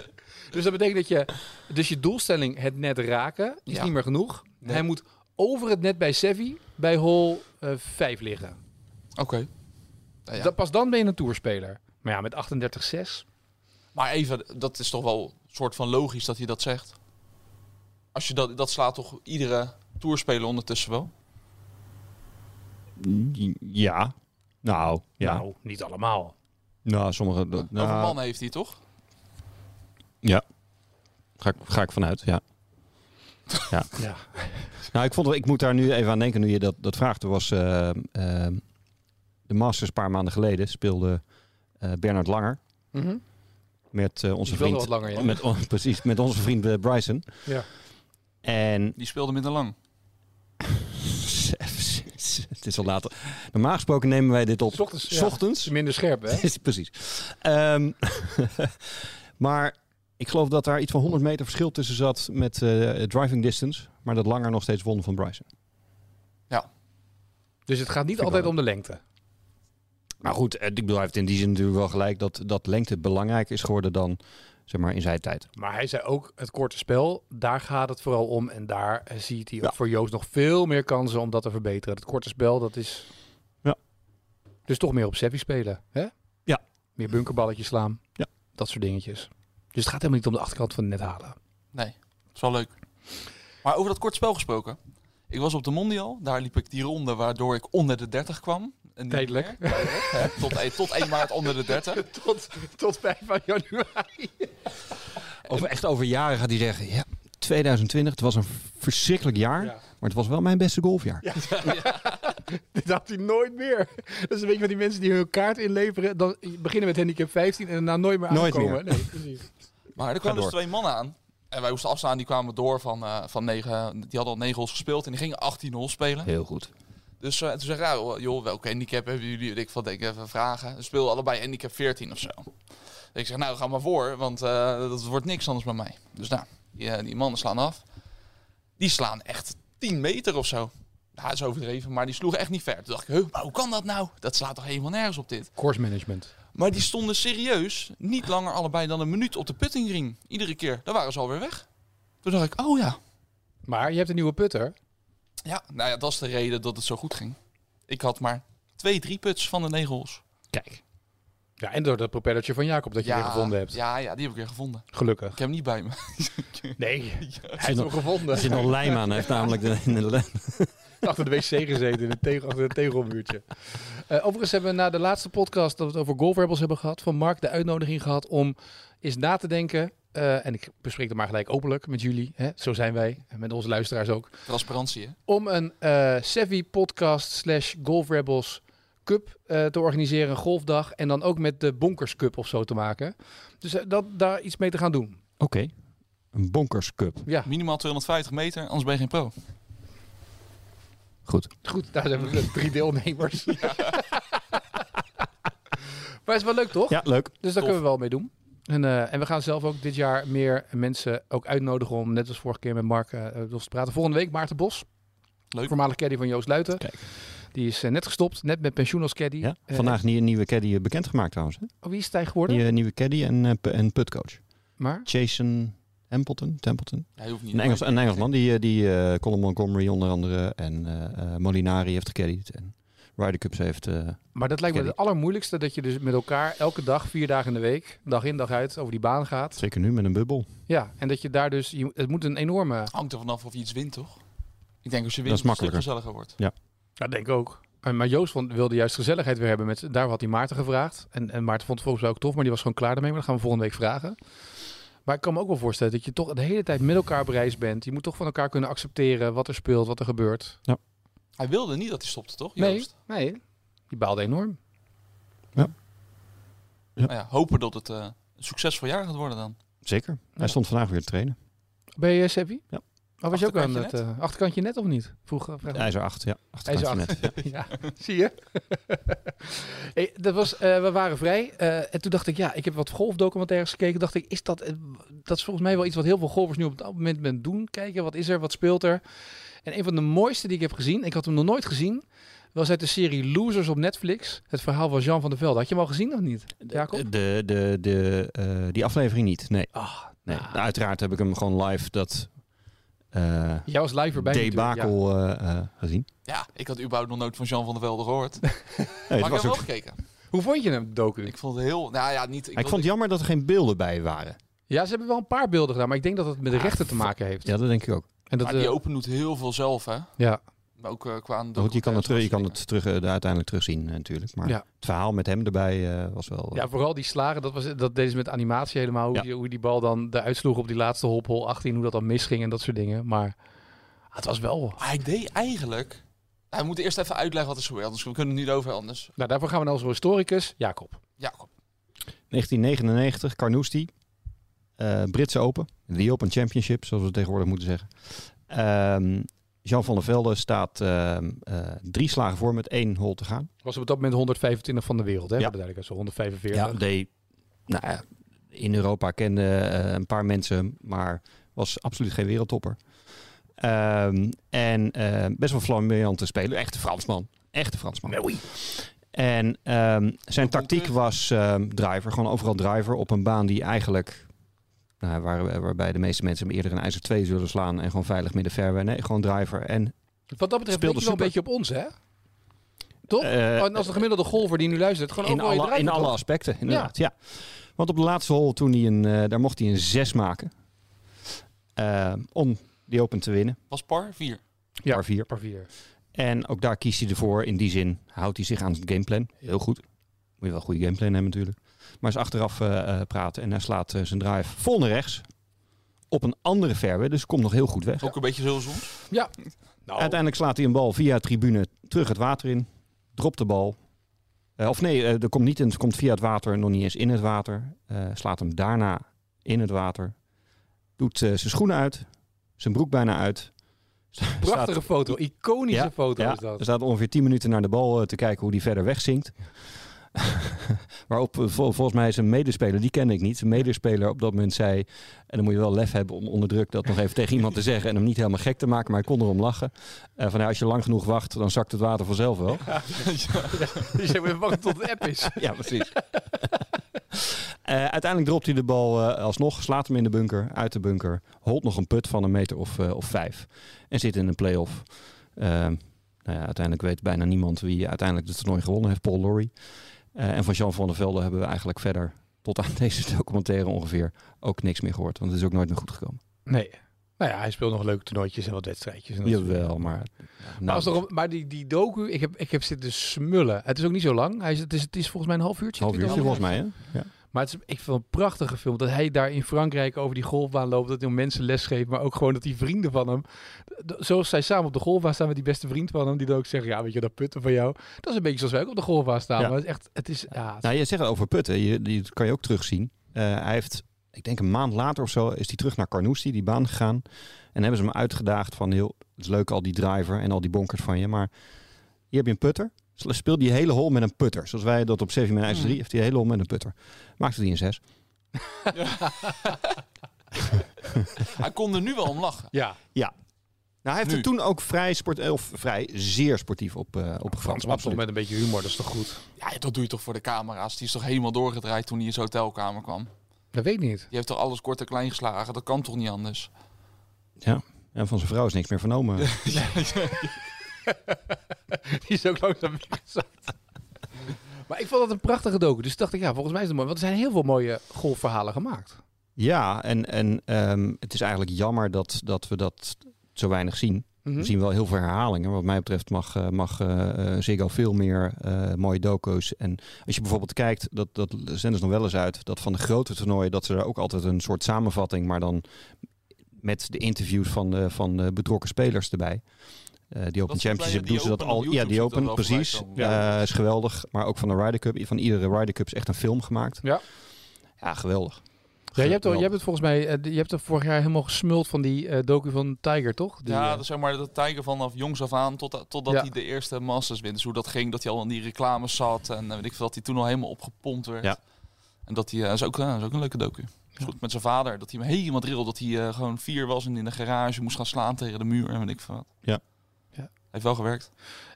[SPEAKER 2] Dus dat betekent dat je... Dus je doelstelling, het net raken, is
[SPEAKER 1] Ja.
[SPEAKER 2] niet meer genoeg. Hij moet over het net bij Sevi, bij hole eh 5 liggen.
[SPEAKER 1] Oké. Nou ja.
[SPEAKER 2] Dat, pas dan ben je een toerspeler. Maar ja, met 38-6.
[SPEAKER 1] Maar even, dat is toch wel een soort van logisch dat hij dat zegt. Als je dat, dat slaat toch iedere toerspeler ondertussen wel?
[SPEAKER 3] Ja. Nou, ja. Nou,
[SPEAKER 2] Nou, niet allemaal.
[SPEAKER 3] sommige... dat-
[SPEAKER 1] Over
[SPEAKER 3] nou,
[SPEAKER 1] man heeft hij toch?
[SPEAKER 3] Ja. Ga ik, ga ik vanuit, ja.
[SPEAKER 2] Ja.
[SPEAKER 3] Nou, ik, vond, wel- ik moet daar nu even aan denken, nu je dat, dat vraagt. Er was eh, eh, de Masters een paar maanden geleden speelde eh Bernard Langer
[SPEAKER 2] Mhm.
[SPEAKER 3] met eh, onze
[SPEAKER 2] Die wilde
[SPEAKER 3] vriend...
[SPEAKER 2] wat langer, ja.
[SPEAKER 3] Met, on- precies, met onze vriend eh, Bryson.
[SPEAKER 2] Ja.
[SPEAKER 3] En
[SPEAKER 1] Die speelde minder lang.
[SPEAKER 3] het is al later. Normaal gesproken nemen wij dit op...
[SPEAKER 2] S ochtends, ja.
[SPEAKER 3] 's ochtends.
[SPEAKER 2] Is minder scherp, hè?
[SPEAKER 3] Precies. Ehm, maar ik geloof dat daar iets van 100 meter verschil tussen zat met eh, driving distance. Maar dat langer nog steeds won van Bryson.
[SPEAKER 2] Dus het gaat niet
[SPEAKER 3] ik
[SPEAKER 2] altijd
[SPEAKER 3] wel.
[SPEAKER 2] om de lengte.
[SPEAKER 3] Maar goed, eh, ik bedoel, hij heeft in die zin natuurlijk wel gelijk dat, dat lengte belangrijker is geworden dan zeg maar, in zijn tijd.
[SPEAKER 2] Maar hij zei ook, het korte spel, daar gaat het vooral om. En daar eh, ziet hij ook
[SPEAKER 3] Ja.
[SPEAKER 2] voor Joost nog veel meer kansen om dat te verbeteren. Het korte spel, dat is...
[SPEAKER 3] Ja.
[SPEAKER 2] Dus toch meer op Seppi spelen, hè?
[SPEAKER 3] Ja.
[SPEAKER 2] Meer bunkerballetjes slaan.
[SPEAKER 3] Ja.
[SPEAKER 2] Dat soort dingetjes. Dus het gaat helemaal niet om de achterkant van het net halen.
[SPEAKER 1] Nee, dat is wel leuk. Maar over dat kort spel gesproken. Ik was op de Mondial. Daar liep ik die ronde waardoor ik onder de 30 kwam. En niet
[SPEAKER 2] Tijdelijk.
[SPEAKER 1] meer, tijdelijk, hè. tot, eh, tot 1 maart onder de 30.
[SPEAKER 2] Tot, tot 5 januari.
[SPEAKER 3] Over, echt over jaren gaat hij zeggen, ja, 2020, het was een verschrikkelijk jaar. Maar het was wel mijn beste golfjaar.
[SPEAKER 2] Dit had hij nooit meer. Dus Dat is een beetje van die mensen die hun kaart inleveren. Dan beginnen met handicap 15 en daarna nooit meer
[SPEAKER 3] Nooit
[SPEAKER 2] aankomen.
[SPEAKER 3] meer.
[SPEAKER 2] Nee, precies.
[SPEAKER 1] Maar er kwamen dus
[SPEAKER 3] door.
[SPEAKER 1] twee mannen aan. En wij moesten afslaan. Die kwamen door van, eh, van negen. Die hadden al 9 holes gespeeld. En die gingen 18 holes spelen.
[SPEAKER 3] Heel goed.
[SPEAKER 1] Dus eh, toen zei ik, ja, joh, joh, welke handicap hebben jullie? Ik van, denk even vragen. Ze speelden allebei handicap 14 of zo. Ik zeg, nou, ga maar voor, want eh, dat wordt niks anders bij mij. Dus nou, die, eh, die mannen slaan af. Die slaan echt 10 meter of zo. Nou, dat is overdreven, maar die sloegen echt niet ver. Toen dacht ik, huh, maar hoe kan dat nou? Dat slaat toch helemaal nergens op dit?
[SPEAKER 2] Course management.
[SPEAKER 1] Maar die stonden serieus niet langer allebei dan een minuut op de puttingring. Iedere keer, daar waren ze alweer weg. Toen dacht ik, oh ja.
[SPEAKER 2] Maar je hebt een nieuwe putter.
[SPEAKER 1] Ja, nou ja, dat is de reden dat het zo goed ging. Ik had maar twee, drie puts van de negels.
[SPEAKER 3] Kijk.
[SPEAKER 2] Ja, en door dat propellertje van Jacob dat je weer gevonden hebt.
[SPEAKER 1] Ja, ja, die heb ik weer gevonden.
[SPEAKER 2] Gelukkig.
[SPEAKER 1] Ik heb hem niet bij me.
[SPEAKER 2] Nee,
[SPEAKER 3] Hij is nog, er
[SPEAKER 2] gevonden.
[SPEAKER 3] zit nog lijm aan, hij heeft namelijk de, de-
[SPEAKER 2] Achter de wc gezeten, in het tegel, achter het tegelmuurtje. Eh, overigens hebben we na de laatste podcast dat we het over Golf Rebels hebben gehad... van Mark de uitnodiging gehad om eens na te denken... eh, en ik bespreek dat maar gelijk openlijk met jullie. Hè? Zo zijn wij, en met onze luisteraars ook.
[SPEAKER 1] Transparantie, hè?
[SPEAKER 2] om een eh Savvy podcast slash Golf Rebels Cup eh, te organiseren, een golfdag. En dan ook met de Bonkers Cup of zo te maken. Dus eh, dat, daar iets mee te gaan doen.
[SPEAKER 3] Oké, een bonkers cup.
[SPEAKER 2] Ja,
[SPEAKER 1] Minimaal 250 meter, anders ben je geen pro.
[SPEAKER 3] Goed.
[SPEAKER 2] goed, daar zijn we de drie deelnemers. maar is wel leuk, toch?
[SPEAKER 3] Ja, leuk.
[SPEAKER 2] Dus daar kunnen we wel mee doen. En, eh, en we gaan zelf ook dit jaar meer mensen ook uitnodigen om, net als vorige keer met Mark, eh eh, ons te praten. Volgende week Maarten Bos.
[SPEAKER 1] Leuk.
[SPEAKER 2] Voormalig caddy van Joost Luiten.
[SPEAKER 3] Kijk.
[SPEAKER 2] Die is eh, net gestopt, net met pensioen als caddy.
[SPEAKER 3] Ja.
[SPEAKER 2] Eh,
[SPEAKER 3] Vandaag nie- een nieuwe caddy eh, bekendgemaakt trouwens. Hè?
[SPEAKER 2] oh, wie is hij geworden?
[SPEAKER 3] Nieuwe, nieuwe caddy en, eh, pu- en putcoach.
[SPEAKER 2] Maar?
[SPEAKER 3] Jason Templeton. Templeton.
[SPEAKER 1] Hij hoeft niet.
[SPEAKER 3] Een, Engels,
[SPEAKER 1] Maar-
[SPEAKER 3] een Engelsman, die, eh, die eh, Colin Montgomery onder andere en eh, eh, Molinari heeft gecaddied. En Ryder Cups heeft... eh,
[SPEAKER 2] Maar dat lijkt me
[SPEAKER 3] Ken
[SPEAKER 2] het allermoeilijkste dat je dus met elkaar elke dag, vier dagen in de week, dag in dag uit, over die baan gaat.
[SPEAKER 3] zeker nu met een bubbel.
[SPEAKER 2] Ja, en dat je daar dus, je, het moet een enorme,
[SPEAKER 1] hangt er vanaf of je iets wint, toch? Ik denk als je
[SPEAKER 3] Dat
[SPEAKER 1] wint,
[SPEAKER 3] is
[SPEAKER 1] dat het een stuk
[SPEAKER 3] makkelijker.
[SPEAKER 1] gezelliger wordt.
[SPEAKER 2] dat denk ik ook. En, maar Joost van, wilde juist gezelligheid weer hebben, met, daar had hij Maarten gevraagd. En, en Maarten vond het volgens mij ook tof, maar die was gewoon klaar daarmee, maar dat gaan we volgende week vragen. Maar ik kan me ook wel voorstellen dat je toch de hele tijd met elkaar bereisd bent. Je moet toch van elkaar kunnen accepteren wat er speelt, wat er gebeurt.
[SPEAKER 1] Hij wilde niet dat hij stopte, toch?
[SPEAKER 2] Nee,
[SPEAKER 1] Joost?
[SPEAKER 2] nee, die baalde enorm.
[SPEAKER 3] Ja.
[SPEAKER 1] Nou ja, hopen dat het eh, een succesvol jaar gaat worden dan.
[SPEAKER 3] Zeker. Hij stond vandaag weer te trainen.
[SPEAKER 2] Ben je Seppi?
[SPEAKER 3] Ja. Eh,
[SPEAKER 2] Oh, was je ook aan
[SPEAKER 1] Achterkantje
[SPEAKER 2] het eh, achterkantje net of niet? Vroeger. vraag ik me
[SPEAKER 3] IJzer 8, ja.
[SPEAKER 2] IJzer
[SPEAKER 3] IJzer 8. Net.
[SPEAKER 2] ja, zie je? hey, dat was, eh, we waren vrij. eh, en toen dacht ik, ja, ik heb wat golfdocumentaires gekeken. Dacht ik, is dat, eh, dat is volgens mij wel iets wat heel veel golfers nu op dat moment met doen. Kijken, wat is er, wat speelt er? En een van de mooiste die ik heb gezien, ik had hem nog nooit gezien, was uit de serie Losers op Netflix. Het verhaal van Jean van der Velde. Had je hem al gezien of niet,
[SPEAKER 3] Eh,
[SPEAKER 2] Jacob?
[SPEAKER 3] De, de, de, eh, die aflevering niet, nee.
[SPEAKER 2] Ah,
[SPEAKER 3] nee.
[SPEAKER 2] nou.
[SPEAKER 3] Uiteraard heb ik hem gewoon live dat eh
[SPEAKER 2] Jij was live erbij natuurlijk,
[SPEAKER 3] debakel eh, eh, gezien.
[SPEAKER 1] Ja, ik had überhaupt nog nooit van Jean van der Velde gehoord. maar
[SPEAKER 3] Nee,
[SPEAKER 1] ik
[SPEAKER 3] het
[SPEAKER 1] heb
[SPEAKER 3] was
[SPEAKER 1] wel
[SPEAKER 3] ook,
[SPEAKER 1] gekeken.
[SPEAKER 2] ja. Hoe vond je hem, de docu?
[SPEAKER 1] Ik vond het heel... Nou ja, niet...
[SPEAKER 3] ik
[SPEAKER 1] wil-
[SPEAKER 3] vond het jammer dat er geen beelden bij waren.
[SPEAKER 2] Ja, ze hebben wel een paar beelden gedaan, maar ik denk dat het met de rechten te maken heeft.
[SPEAKER 3] Ja, dat denk ik ook.
[SPEAKER 2] En dat,
[SPEAKER 1] Maar die
[SPEAKER 2] eh,
[SPEAKER 1] open doet heel veel zelf, hè.
[SPEAKER 2] ja.
[SPEAKER 1] Maar ook eh, qua...
[SPEAKER 3] Maar goed, je kan het, terug, je kan het terug, eh, uiteindelijk terugzien eh, natuurlijk. Maar
[SPEAKER 2] Ja.
[SPEAKER 3] het verhaal met hem erbij eh, was wel... eh,
[SPEAKER 2] Ja, vooral die slagen, dat, was, dat deden ze met animatie helemaal. Hoe,
[SPEAKER 3] Ja.
[SPEAKER 2] die, hoe die bal dan eruit sloeg op die laatste hop, hol 18, hoe dat dan misging en dat soort dingen. Maar ah, het was wel...
[SPEAKER 1] Maar ik deed eigenlijk... Hij moet eerst even uitleggen wat er is gebeurd, anders we kunnen het niet over anders.
[SPEAKER 2] Nou, daarvoor gaan we naar onze historicus, Jacob.
[SPEAKER 1] Ja, kom.
[SPEAKER 3] 1999, Carnoustie. Eh, Britse Open. The Open Championship, zoals we tegenwoordig moeten zeggen. Ehm, Jean van der Velde staat ehm, eh, drie slagen voor met één hol te gaan.
[SPEAKER 2] Was op dat moment 125 van de wereld, hè?
[SPEAKER 3] Ja.
[SPEAKER 2] Ja. Duidelijk, zo 145.
[SPEAKER 3] Ja, deed, nou, ja, in Europa kenden eh, een paar mensen hem, maar was absoluut geen wereldtopper. Ehm, en eh, best wel flamboyante speler. Echte Fransman. Echte Fransman. En ehm, zijn tactiek was ehm, driver, gewoon overal driver op een baan die eigenlijk, nou, waar, waarbij de meeste mensen hem eerder een ijzer 2 zullen slaan en gewoon veilig midden fairway. Nee, gewoon driver. En,
[SPEAKER 2] Wat dat betreft
[SPEAKER 3] Speelde
[SPEAKER 2] speelde je wel een
[SPEAKER 3] super.
[SPEAKER 2] beetje op ons, hè? Toch?
[SPEAKER 3] eh,
[SPEAKER 2] Oh, en als de gemiddelde golfer die nu luistert, gewoon
[SPEAKER 3] in
[SPEAKER 2] overal je
[SPEAKER 3] alle,
[SPEAKER 2] draait
[SPEAKER 3] in alle
[SPEAKER 2] toch?
[SPEAKER 3] aspecten, inderdaad. Ja. Want op de laatste hole, toen hij een, eh, daar mocht hij een 6 maken Ehm, om die Open te winnen,
[SPEAKER 1] Was par 4.
[SPEAKER 2] Ja.
[SPEAKER 3] par 4.
[SPEAKER 2] Par vier.
[SPEAKER 3] En ook daar kiest hij ervoor. In die zin houdt hij zich aan het gameplan. Heel goed. Moet je wel een goede gameplan hebben natuurlijk. Maar is achteraf eh, eh, praten en hij slaat eh, zijn drive vol naar rechts. Op een andere fairway, dus komt nog heel goed weg.
[SPEAKER 1] Ook een beetje zoals ons.
[SPEAKER 2] Nou,
[SPEAKER 3] Uiteindelijk slaat hij een bal via tribune terug het water in. Dropt de bal. Eh, of nee, eh, er komt niet in, het komt via het water, nog niet eens in het water. Eh, slaat hem daarna in het water. Doet eh, zijn schoenen uit. Zijn broek bijna uit. Staat-
[SPEAKER 2] Prachtige foto, iconische
[SPEAKER 3] Ja,
[SPEAKER 2] foto
[SPEAKER 3] ja,
[SPEAKER 2] is dat.
[SPEAKER 3] Er staat ongeveer 10 minuten naar de bal eh, te kijken hoe die verder wegzinkt. Waarop eh, vol- volgens mij zijn medespeler, die kende ik niet. Zijn medespeler op dat moment zei. En dan moet je wel lef hebben om onder druk dat nog even tegen iemand te zeggen. En hem niet helemaal gek te maken, maar ik kon erom lachen. Eh, van ja, als je lang genoeg wacht, dan zakt het water vanzelf wel.
[SPEAKER 2] Dus je moet wachten tot de app is.
[SPEAKER 3] Ja, precies. Eh, uiteindelijk dropt hij de bal eh, alsnog, slaat hem in de bunker, uit de bunker, holt nog een put van een meter of, eh, of vijf en zit in een play-off. Ehm, nou ja, uiteindelijk weet bijna niemand wie uiteindelijk het toernooi gewonnen heeft, Paul Lorry. Eh, en van Jean van der Velde hebben we eigenlijk verder, tot aan deze documentaire ongeveer, ook niks meer gehoord. Want het is ook nooit meer goed gekomen.
[SPEAKER 2] Nee. Nou ja, hij speelt nog leuke toernooitjes en wat wedstrijdjes. En dat soort
[SPEAKER 3] Jawel, maar...
[SPEAKER 2] Maar,
[SPEAKER 3] Nou,
[SPEAKER 2] als er, maar die, die docu, ik heb, ik heb zitten smullen. Het is ook niet zo lang. Hij is, het, is, het is volgens mij een half uurtje.
[SPEAKER 3] half uurtje
[SPEAKER 2] twintig,
[SPEAKER 3] volgens mij, hè?
[SPEAKER 2] Maar het is, ik vind het een prachtige film. Dat hij daar in Frankrijk over die golfbaan loopt. Dat hij om mensen lesgeeft. Maar ook gewoon dat die vrienden van hem. d- Zoals zij samen op de golfbaan staan met die beste vriend van hem. Die dan ook zeggen, ja weet je, dat putten van jou. Dat is een beetje zoals wij ook op de golfbaan staan.
[SPEAKER 3] Ja.
[SPEAKER 2] Maar het is echt, het is, ja, het-
[SPEAKER 3] Nou, je zegt het over Putten. Je, die dat kan je ook terugzien. Eh, hij heeft, ik denk een maand later of zo, is hij terug naar Carnoustie, die baan gegaan. En hebben ze hem uitgedaagd van, heel, het is leuk al die driver en al die bonkers van je, maar hier heb je een putter. Sla- Speel die hele hol met een putter. Zoals wij dat op 7 min
[SPEAKER 2] Hmm.
[SPEAKER 3] ijzer 3, heeft hij de hele hol met een putter. Maakte die een 6.
[SPEAKER 1] Hij kon er nu wel om lachen.
[SPEAKER 2] ja.
[SPEAKER 3] Nou, hij heeft
[SPEAKER 1] Nu.
[SPEAKER 3] er toen ook vrij, sport, eh, of vrij zeer sportief op, eh opgevangen.
[SPEAKER 2] Frans Absoluut. met een beetje humor, dat is toch goed?
[SPEAKER 1] Ja, dat doe je toch voor de camera's. Die is toch helemaal doorgedraaid toen hij in zijn hotelkamer kwam.
[SPEAKER 2] Dat weet ik niet.
[SPEAKER 1] Die heeft toch alles kort en klein geslagen? Dat kan toch niet anders?
[SPEAKER 3] En van zijn vrouw is niks meer vernomen.
[SPEAKER 2] Die is ook langzaam weggezakt. Maar ik vond dat een prachtige docu. Dus dacht ik, ja, volgens mij is het mooi. Want er zijn heel veel mooie golfverhalen gemaakt.
[SPEAKER 3] Ja, en, en ehm, het is eigenlijk jammer dat, dat we dat zo weinig zien.
[SPEAKER 1] Hm?
[SPEAKER 2] Mhm.
[SPEAKER 3] We zien wel heel veel herhalingen. Wat mij betreft mag, eh, mag eh, eh, Ziggo veel meer eh, mooie doco's. En als je bijvoorbeeld kijkt, dat, dat zenden ze nog wel eens uit, dat van de grote toernooien, dat ze daar ook altijd een soort samenvatting, maar dan met de interviews van de, van de betrokken spelers erbij. Eh die Open
[SPEAKER 1] volgens mij
[SPEAKER 3] Championship
[SPEAKER 1] die
[SPEAKER 3] doen ze dat
[SPEAKER 1] Open op
[SPEAKER 3] al. Ja,
[SPEAKER 1] YouTube
[SPEAKER 3] die
[SPEAKER 1] zit
[SPEAKER 3] Open,
[SPEAKER 1] dat wel
[SPEAKER 3] precies.
[SPEAKER 1] voorbij komen.
[SPEAKER 3] Ja. is geweldig. Maar ook van de Ryder Cup. Van iedere Ryder Cup is echt een film gemaakt.
[SPEAKER 2] Ja.
[SPEAKER 3] Ja, geweldig.
[SPEAKER 2] Ja, je hebt, al, je hebt het volgens mij, eh, je hebt er vorig jaar helemaal gesmuld van die eh, docu van Tiger, toch? Die,
[SPEAKER 1] ja,
[SPEAKER 2] eh,
[SPEAKER 1] dat zeg maar dat Tiger vanaf jongs af aan tot, totdat
[SPEAKER 2] Ja.
[SPEAKER 1] hij de eerste Masters wint. Dus hoe dat ging, dat hij al in die reclames zat en eh, weet ik veel, dat hij toen al helemaal opgepompt werd.
[SPEAKER 3] Ja.
[SPEAKER 1] En dat hij, eh, is ook, eh, is ook een leuke docu. Is goed met zijn vader, dat hij hem helemaal drill, dat hij eh, gewoon vier was en in de garage moest gaan slaan tegen de muur en weet ik veel wat.
[SPEAKER 3] Ja.
[SPEAKER 2] Ja.
[SPEAKER 1] Heeft wel gewerkt.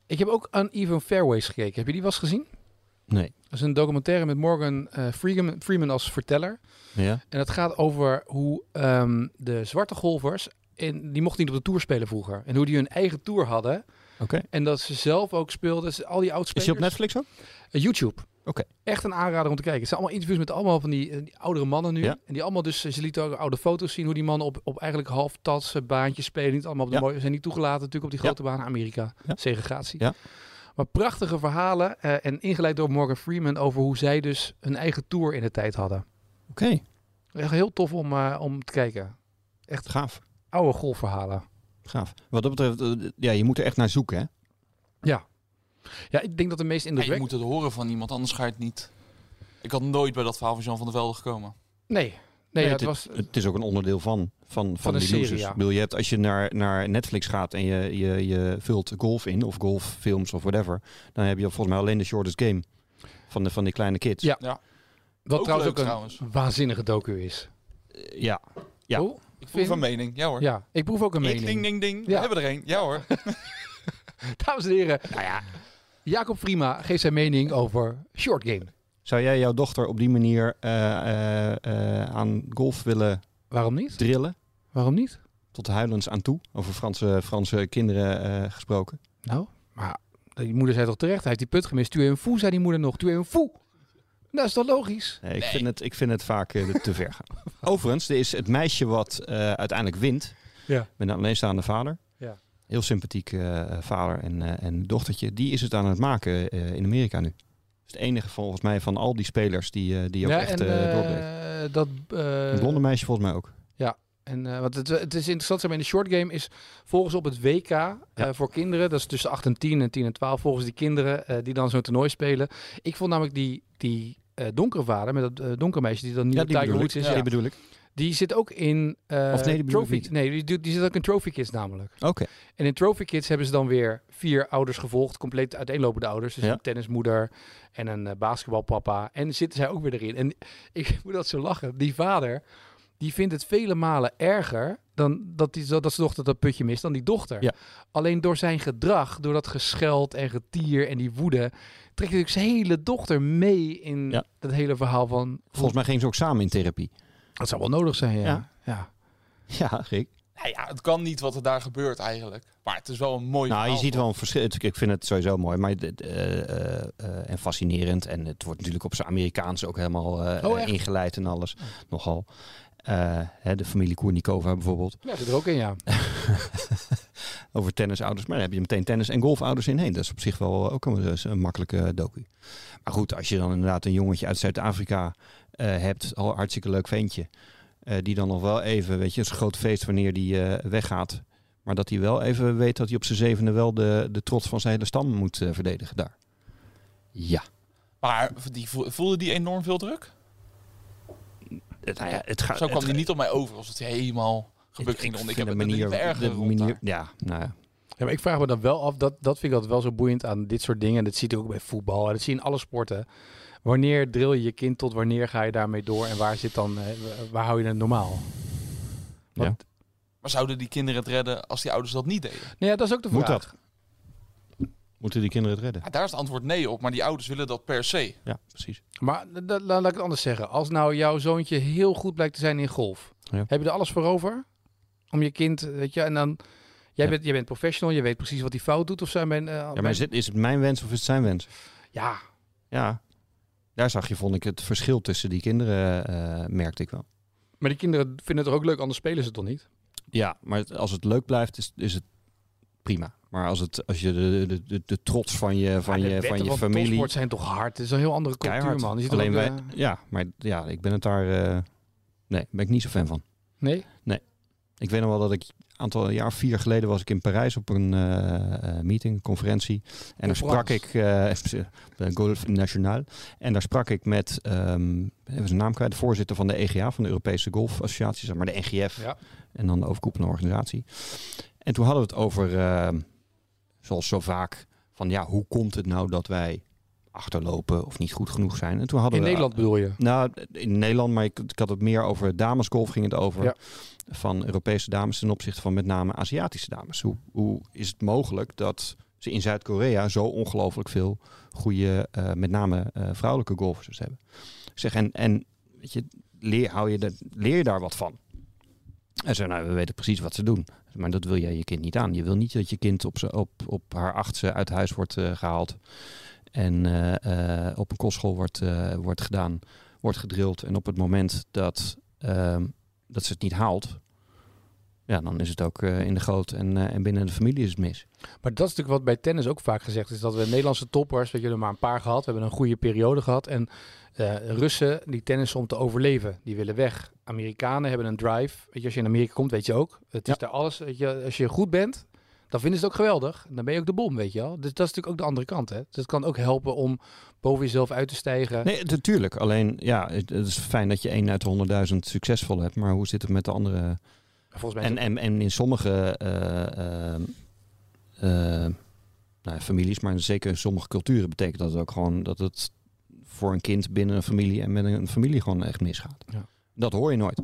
[SPEAKER 2] Ik heb ook Uneven Fairways gekeken. Heb je die wel eens gezien?
[SPEAKER 3] Nee.
[SPEAKER 2] Dat is een documentaire met Morgan eh, Freeman, Freeman als verteller.
[SPEAKER 3] Ja.
[SPEAKER 2] En het gaat over hoe ehm, de zwarte golfers, in, die mochten niet op de tour spelen vroeger. En hoe die hun eigen tour hadden.
[SPEAKER 3] Oké.
[SPEAKER 2] En dat ze zelf ook speelden, dus al die
[SPEAKER 3] Is
[SPEAKER 2] oudspelers.
[SPEAKER 3] hij op Netflix ook?
[SPEAKER 2] Eh, YouTube.
[SPEAKER 3] Oké.
[SPEAKER 2] Echt een aanrader om te kijken. Het zijn allemaal interviews met allemaal van die, eh, die oudere mannen nu.
[SPEAKER 3] Ja.
[SPEAKER 2] En die allemaal dus, ze lieten ook oude foto's zien hoe die mannen op, op eigenlijk half tatsen, baantjes spelen. Niet allemaal op de
[SPEAKER 3] Ja.
[SPEAKER 2] mooie, zijn niet toegelaten natuurlijk op die
[SPEAKER 3] Ja.
[SPEAKER 2] grote baan Amerika.
[SPEAKER 3] Ja.
[SPEAKER 2] Segregatie.
[SPEAKER 3] Ja.
[SPEAKER 2] Maar prachtige verhalen eh, en ingeleid door Morgan Freeman over hoe zij dus hun eigen tour in de tijd hadden.
[SPEAKER 3] Oké.
[SPEAKER 2] Echt heel tof om, eh, om te kijken.
[SPEAKER 3] Gaaf.
[SPEAKER 2] Oude golfverhalen.
[SPEAKER 3] Gaaf. Wat dat betreft, eh, ja, je moet er echt naar zoeken, hè?
[SPEAKER 2] Ja, ik denk dat de meest
[SPEAKER 1] En je
[SPEAKER 2] indrukwekkend...
[SPEAKER 1] moet het horen van iemand, anders ga je het niet. Ik had nooit bij dat verhaal van Jean van der Velde gekomen.
[SPEAKER 2] Nee, nee, ja, het
[SPEAKER 3] dit-
[SPEAKER 2] was... eh,
[SPEAKER 3] Het is ook een onderdeel van, van, van,
[SPEAKER 2] Van een
[SPEAKER 3] die
[SPEAKER 2] serie,
[SPEAKER 3] losers.
[SPEAKER 2] ja.
[SPEAKER 3] Ik bedoel, je hebt, als je naar, naar Netflix gaat en je, je, je vult golf in, of golffilms of whatever, dan heb je volgens mij alleen de shortest game van, de, van die kleine kids.
[SPEAKER 2] Ja. Wat
[SPEAKER 1] ook
[SPEAKER 2] trouwens
[SPEAKER 1] leuk
[SPEAKER 2] ook een
[SPEAKER 1] trouwens.
[SPEAKER 2] waanzinnige docu is.
[SPEAKER 3] Eh, Ja, Ja.
[SPEAKER 2] Oh,
[SPEAKER 1] Ik voel
[SPEAKER 2] Vind-
[SPEAKER 1] van mening. Ja hoor.
[SPEAKER 2] ja, ik proef ook een
[SPEAKER 1] Ik
[SPEAKER 2] mening.
[SPEAKER 1] ding ding ding. We
[SPEAKER 2] Ja.
[SPEAKER 1] hebben er een. Ja hoor.
[SPEAKER 2] Dames en heren,
[SPEAKER 3] Nou
[SPEAKER 2] Jacob Prima geeft zijn mening over short game.
[SPEAKER 3] Zou jij jouw dochter op die manier eh, eh, eh, aan golf willen
[SPEAKER 2] Waarom niet?
[SPEAKER 3] drillen?
[SPEAKER 2] Waarom niet?
[SPEAKER 3] Tot huilens aan toe, over Franse, Franse kinderen eh, gesproken.
[SPEAKER 2] Nou, maar die moeder zei toch terecht, hij heeft die put gemist. Tu es een foe, zei die moeder nog. Tu es een foe. Dat is toch logisch?
[SPEAKER 3] Nee, ik,
[SPEAKER 1] Nee.
[SPEAKER 3] Vind het, ik vind het vaak eh, te ver gaan. Overigens, er is het meisje wat eh, uiteindelijk wint,
[SPEAKER 2] Ja.
[SPEAKER 3] met een alleenstaande vader.
[SPEAKER 2] Ja.
[SPEAKER 3] Heel sympathiek eh, vader en, eh, en dochtertje. Die is het aan het maken eh, in Amerika nu. Dat is het enige volgens mij van al die spelers die, eh, die ook
[SPEAKER 2] ja,
[SPEAKER 3] echt
[SPEAKER 2] en
[SPEAKER 3] eh
[SPEAKER 2] eh,
[SPEAKER 3] doorbleven.
[SPEAKER 2] dat...
[SPEAKER 3] Het
[SPEAKER 2] eh
[SPEAKER 3] blonde meisje volgens mij ook.
[SPEAKER 2] en, eh, want het, het is interessant, zeg maar, in de short game is volgens op het WK eh, voor kinderen, dat is tussen 8 en 10 en 10 en 12, volgens die kinderen eh, die dan zo'n toernooi spelen. Ik vond namelijk die, die eh, donkere vader, met dat eh, donkere meisje die dan nu
[SPEAKER 3] die
[SPEAKER 2] Tiger
[SPEAKER 3] bedoel
[SPEAKER 2] Woods
[SPEAKER 3] ik.
[SPEAKER 2] is,
[SPEAKER 3] Ja,
[SPEAKER 2] ja.
[SPEAKER 3] die bedoel ik.
[SPEAKER 2] Die zit ook in eh,
[SPEAKER 3] Of nee, die bedoel ik
[SPEAKER 2] Trophy.
[SPEAKER 3] niet.
[SPEAKER 2] Nee, die, doet- die zit ook in Trophy Kids namelijk.
[SPEAKER 3] Oké.
[SPEAKER 2] En in Trophy Kids hebben ze dan weer vier ouders gevolgd, compleet uiteenlopende ouders. Dus
[SPEAKER 3] Ja.
[SPEAKER 2] een tennismoeder en een eh, basketbalpapa. En zitten zij ook weer erin. En ik moet dat zo lachen. Die vader, die vindt het vele malen erger dan dat, die, dat zijn dochter dat putje mist, dan die dochter.
[SPEAKER 3] Ja.
[SPEAKER 2] Alleen door zijn gedrag, door dat gescheld en getier en die woede, trekt natuurlijk zijn hele dochter mee in
[SPEAKER 3] Ja.
[SPEAKER 2] dat hele verhaal van... "Oh,
[SPEAKER 3] Volgens mij gingen ze ook samen in therapie.
[SPEAKER 2] Dat zou wel nodig zijn,
[SPEAKER 3] Ja.
[SPEAKER 2] ja. ja.
[SPEAKER 3] Ja, Rick.
[SPEAKER 1] Nou ja, het kan niet wat er daar gebeurt eigenlijk. Maar het is wel een mooi
[SPEAKER 3] Nou, je
[SPEAKER 1] verhaal,
[SPEAKER 3] ziet wel een verschil. Ik ik vind het sowieso mooi maar dit, eh, eh, eh, en fascinerend. En het wordt natuurlijk op zijn Amerikaans ook helemaal eh,
[SPEAKER 2] Oh, echt?
[SPEAKER 3] ingeleid en alles. Nogal. Eh, hè, de familie Koernikova bijvoorbeeld.
[SPEAKER 2] Ja, zit er ook in, ja.
[SPEAKER 3] over tennisouders. Maar dan heb je meteen tennis- en golfouders in heen. Dat is op zich wel eh, ook een, dus een makkelijke docu. Maar goed, als je dan inderdaad een jongetje uit Zuid-Afrika eh, hebt, al een hartstikke leuk ventje. eh, die dan nog wel even, weet je, het is een groot feest wanneer die eh, weggaat. Maar dat hij wel even weet dat hij op zijn zevende wel de, de trots van zijn hele stam moet eh, verdedigen daar. Ja.
[SPEAKER 1] Maar die, vo- voelde die enorm veel druk?
[SPEAKER 3] Eh, Nou ja, Nou, het gaat,
[SPEAKER 1] Zo kwam
[SPEAKER 3] het-
[SPEAKER 1] die niet op mij over als het helemaal gebukt
[SPEAKER 3] ik
[SPEAKER 1] ging. rond. Ik
[SPEAKER 3] vind
[SPEAKER 1] heb
[SPEAKER 3] de
[SPEAKER 1] het manier, niet erger
[SPEAKER 3] de manier, Ja, nou ja.
[SPEAKER 2] Ja, maar ik vraag me dan wel af, dat, dat vind ik altijd wel zo boeiend aan dit soort dingen. En dat zie je ook bij voetbal en dat zie je in alle sporten. Wanneer drill je je kind tot wanneer ga je daarmee door en waar zit dan, eh, wa- waar hou je het normaal? Want,
[SPEAKER 1] Maar zouden die kinderen het redden als die ouders dat niet deden?
[SPEAKER 2] Nee, Nou ja, dat is ook de
[SPEAKER 3] Moet
[SPEAKER 2] vraag.
[SPEAKER 3] dat? Moeten die kinderen het redden?
[SPEAKER 1] Ja, daar is het antwoord nee op, maar die ouders willen dat per se.
[SPEAKER 3] Ja, precies.
[SPEAKER 2] Maar d- d- laat laat ik het anders zeggen. Als nou jouw zoontje heel goed blijkt te zijn in golf,
[SPEAKER 3] Ja.
[SPEAKER 2] heb je er alles voor over? Om je kind, weet je, en dan... Jij,
[SPEAKER 3] Ja.
[SPEAKER 2] bent, jij bent professional, je weet precies wat hij fout doet of zijn ben, eh,
[SPEAKER 3] Ja, maar
[SPEAKER 2] ben-
[SPEAKER 3] is, dit, is het Oh, mijn wens of is het zijn wens?
[SPEAKER 2] ja,
[SPEAKER 3] Ja, daar zag je, vond ik, het verschil tussen die kinderen, eh, merkte ik wel.
[SPEAKER 2] maar die kinderen vinden het toch ook leuk, anders spelen ze toch niet?
[SPEAKER 3] Ja, maar het- als het leuk blijft, is, is het prima. Maar als, het, als je de, de, de, de trots van je, van
[SPEAKER 2] Ja, de
[SPEAKER 3] je, van
[SPEAKER 2] wetten
[SPEAKER 3] je familie...
[SPEAKER 2] topsport zijn toch hard? Het is een heel andere cultuur,
[SPEAKER 3] Keihard.
[SPEAKER 2] man. Je ziet er
[SPEAKER 3] Alleen
[SPEAKER 2] ook,
[SPEAKER 3] wij,
[SPEAKER 2] eh,
[SPEAKER 3] ja, maar ja, ik ben het daar... eh, nee, ben ik niet zo fan van.
[SPEAKER 2] Nee?
[SPEAKER 3] Ik weet nog wel dat ik aantal een jaar of vier geleden was ik in Parijs op een eh, eh, meeting, een conferentie. En daar sprak
[SPEAKER 4] Conference.
[SPEAKER 3] ik eh bij Golf National. En daar sprak ik met, ehm even zijn naam kwijt, de voorzitter van de EGA, van de Europese Golf Associatie, zeg maar de NGF.
[SPEAKER 4] Ja.
[SPEAKER 3] En dan de overkoepelende organisatie. En toen hadden we het over, ehm, zoals zo vaak, van ja, hoe komt het nou dat wij achterlopen of niet goed genoeg zijn? En toen hadden
[SPEAKER 2] In
[SPEAKER 3] we
[SPEAKER 2] Nederland bedoel je?
[SPEAKER 3] nou, in Nederland, maar ik, ik had het meer over damesgolf ging het over.
[SPEAKER 2] Ja.
[SPEAKER 3] Van Europese dames ten opzichte van met name Aziatische dames. Hoe, hoe is het mogelijk dat ze in Zuid-Korea zo ongelooflijk veel goede, eh, met name eh, vrouwelijke golfers hebben? Ik zeg, en, en weet je, leer, hou je de, leer je daar wat van? En zei, nou, we weten precies wat ze doen. Maar dat wil jij je kind niet aan. Je wil niet dat je kind op, ze- op, op haar achtste uit huis wordt eh, gehaald. En eh, eh, op een kostschool wordt, eh, wordt gedaan wordt gedrild. En op het moment dat, ehm, dat ze het niet haalt, ja, dan is het ook eh, in de goot en, eh, en binnen de familie is het mis.
[SPEAKER 2] Maar dat is natuurlijk wat bij tennis ook vaak gezegd is. Dat we Nederlandse toppers, weet je, er maar een paar gehad. We hebben een goede periode gehad. En eh, Russen die tennissen om te overleven, die willen weg. Amerikanen hebben een drive. Weet je, als je in Amerika komt, weet je ook. Het is daar alles. Weet je, als je goed bent, dan vinden ze het ook geweldig. Dan ben je ook de bom, weet je wel. Dus dat is natuurlijk ook de andere kant. Hè? Dus het kan ook helpen om boven jezelf uit te stijgen.
[SPEAKER 3] Nee, natuurlijk. Alleen, ja, het, het is fijn dat je één uit de honderdduizend succesvol hebt. Maar hoe zit het met de andere?
[SPEAKER 2] Volgens mij
[SPEAKER 3] En,
[SPEAKER 2] is
[SPEAKER 3] en, en in sommige eh, ehm, eh, nou, ja, families, maar zeker in sommige culturen betekent dat ook gewoon dat het voor een kind binnen een familie en binnen een familie gewoon echt misgaat.
[SPEAKER 2] Ja.
[SPEAKER 3] Dat hoor je nooit.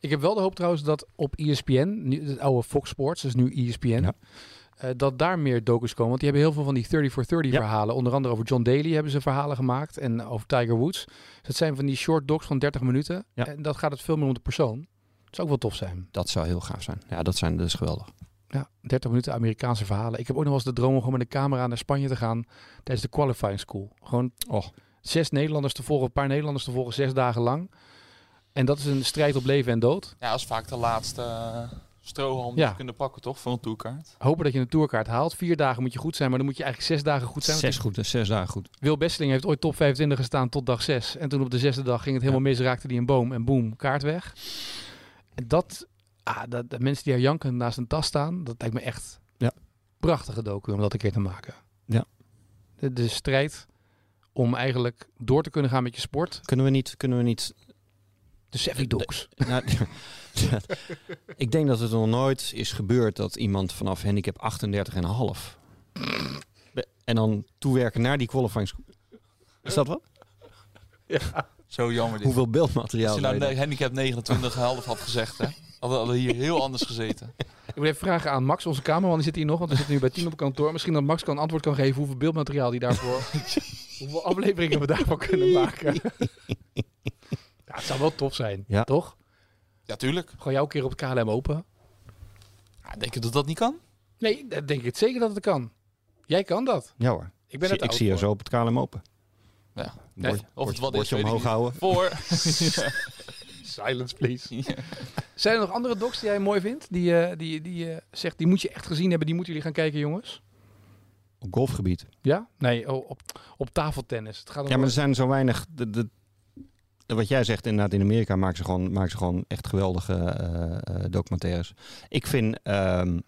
[SPEAKER 2] Ik heb wel de hoop trouwens dat op E ESPN, nu, het oude Fox Sports, dus nu ESPN,
[SPEAKER 3] Ja.
[SPEAKER 2] eh, dat daar meer docus komen. Want die hebben heel veel van die 30 for 30
[SPEAKER 3] Ja.
[SPEAKER 2] verhalen. Onder andere over John Daly hebben ze verhalen gemaakt en over Tiger Woods. Dus dat zijn van die short docs van 30 minuten.
[SPEAKER 3] Ja.
[SPEAKER 2] En dat gaat het veel meer om de persoon. Dat zou ook wel tof zijn.
[SPEAKER 3] Dat zou heel gaaf zijn. Ja, dat zijn dus geweldig.
[SPEAKER 2] Ja, 30 minuten Amerikaanse verhalen. Ik heb ook nog wel eens de droom om gewoon met een camera naar Spanje te gaan tijdens de qualifying school. Gewoon
[SPEAKER 3] Och.
[SPEAKER 2] zes Nederlanders te volgen, een paar Nederlanders te volgen, zes dagen lang. En dat is een strijd op leven en dood.
[SPEAKER 1] Ja, dat is vaak de laatste eh, strohalm die
[SPEAKER 2] Ja.
[SPEAKER 1] ze kunnen pakken, toch? Voor een tourkaart.
[SPEAKER 2] hopen dat je een tourkaart haalt. Vier dagen moet je goed zijn, maar dan moet je eigenlijk zes dagen goed zijn. Want
[SPEAKER 3] Zes, goed, zes dagen goed.
[SPEAKER 2] Wil Besseling heeft ooit top 25 gestaan tot dag 6. En toen op de zesde dag ging het helemaal mis, raakte die een boom en boem, kaart weg. En dat, ah, dat, dat mensen die er janken naast een tas staan, dat lijkt me echt
[SPEAKER 3] Ja.
[SPEAKER 2] prachtige docu om dat een keer te maken.
[SPEAKER 3] Ja.
[SPEAKER 2] De, de strijd om eigenlijk door te kunnen gaan met je sport.
[SPEAKER 3] Kunnen we niet, kunnen we niet
[SPEAKER 2] De Savvy Dogs.
[SPEAKER 3] Nou, ik denk dat het nog nooit is gebeurd dat iemand vanaf handicap 38,5 Be- en dan toewerken naar die qualifying sco- Is dat wat?
[SPEAKER 1] Zo jammer dit.
[SPEAKER 3] Hoeveel
[SPEAKER 1] Als
[SPEAKER 3] beeldmateriaal?
[SPEAKER 1] je nou
[SPEAKER 3] ben je
[SPEAKER 1] ne- handicap 29 half had gezegd, hè, hadden we hier heel anders gezeten.
[SPEAKER 2] Ik wil even vragen aan Max, onze cameraman. Die zit hier nog, want we zitten nu bij Tien op kantoor. Misschien dat Max kan antwoord kan geven hoeveel beeldmateriaal die daarvoor... hoeveel afleveringen we daarvan kunnen maken. ja, het zou wel tof zijn,
[SPEAKER 3] Ja.
[SPEAKER 2] toch?
[SPEAKER 1] Ja, tuurlijk.
[SPEAKER 2] Gewoon jou een keer op het KLM open.
[SPEAKER 1] Ja, denk je dat dat niet kan?
[SPEAKER 2] Nee, dan denk ik het zeker dat het kan. Jij kan dat.
[SPEAKER 3] dan? Ja hoor.
[SPEAKER 2] Ik
[SPEAKER 3] Ik,
[SPEAKER 2] ben
[SPEAKER 3] zie,
[SPEAKER 2] het
[SPEAKER 3] ik zie je zo op het KLM open.
[SPEAKER 1] Ja.
[SPEAKER 3] Bord-
[SPEAKER 1] Of het
[SPEAKER 3] bord-
[SPEAKER 1] wat is,
[SPEAKER 3] bordje
[SPEAKER 1] weet ik
[SPEAKER 3] omhoog
[SPEAKER 1] niet.
[SPEAKER 3] houden.
[SPEAKER 1] Voor.
[SPEAKER 2] Silence, please. Zijn er nog andere docs die jij mooi vindt? Die, eh, die, die eh, zegt, die moet je echt gezien hebben. Die moeten jullie gaan kijken, jongens.
[SPEAKER 3] Op golfgebied.
[SPEAKER 2] Ja? Nee, oh, op, op tafeltennis. Het gaat om
[SPEAKER 3] Ja, maar er zijn zo weinig. De, de, wat jij zegt, inderdaad, in Amerika maken ze gewoon, maken ze gewoon echt geweldige eh, eh, documentaires. Ik vind. ehm,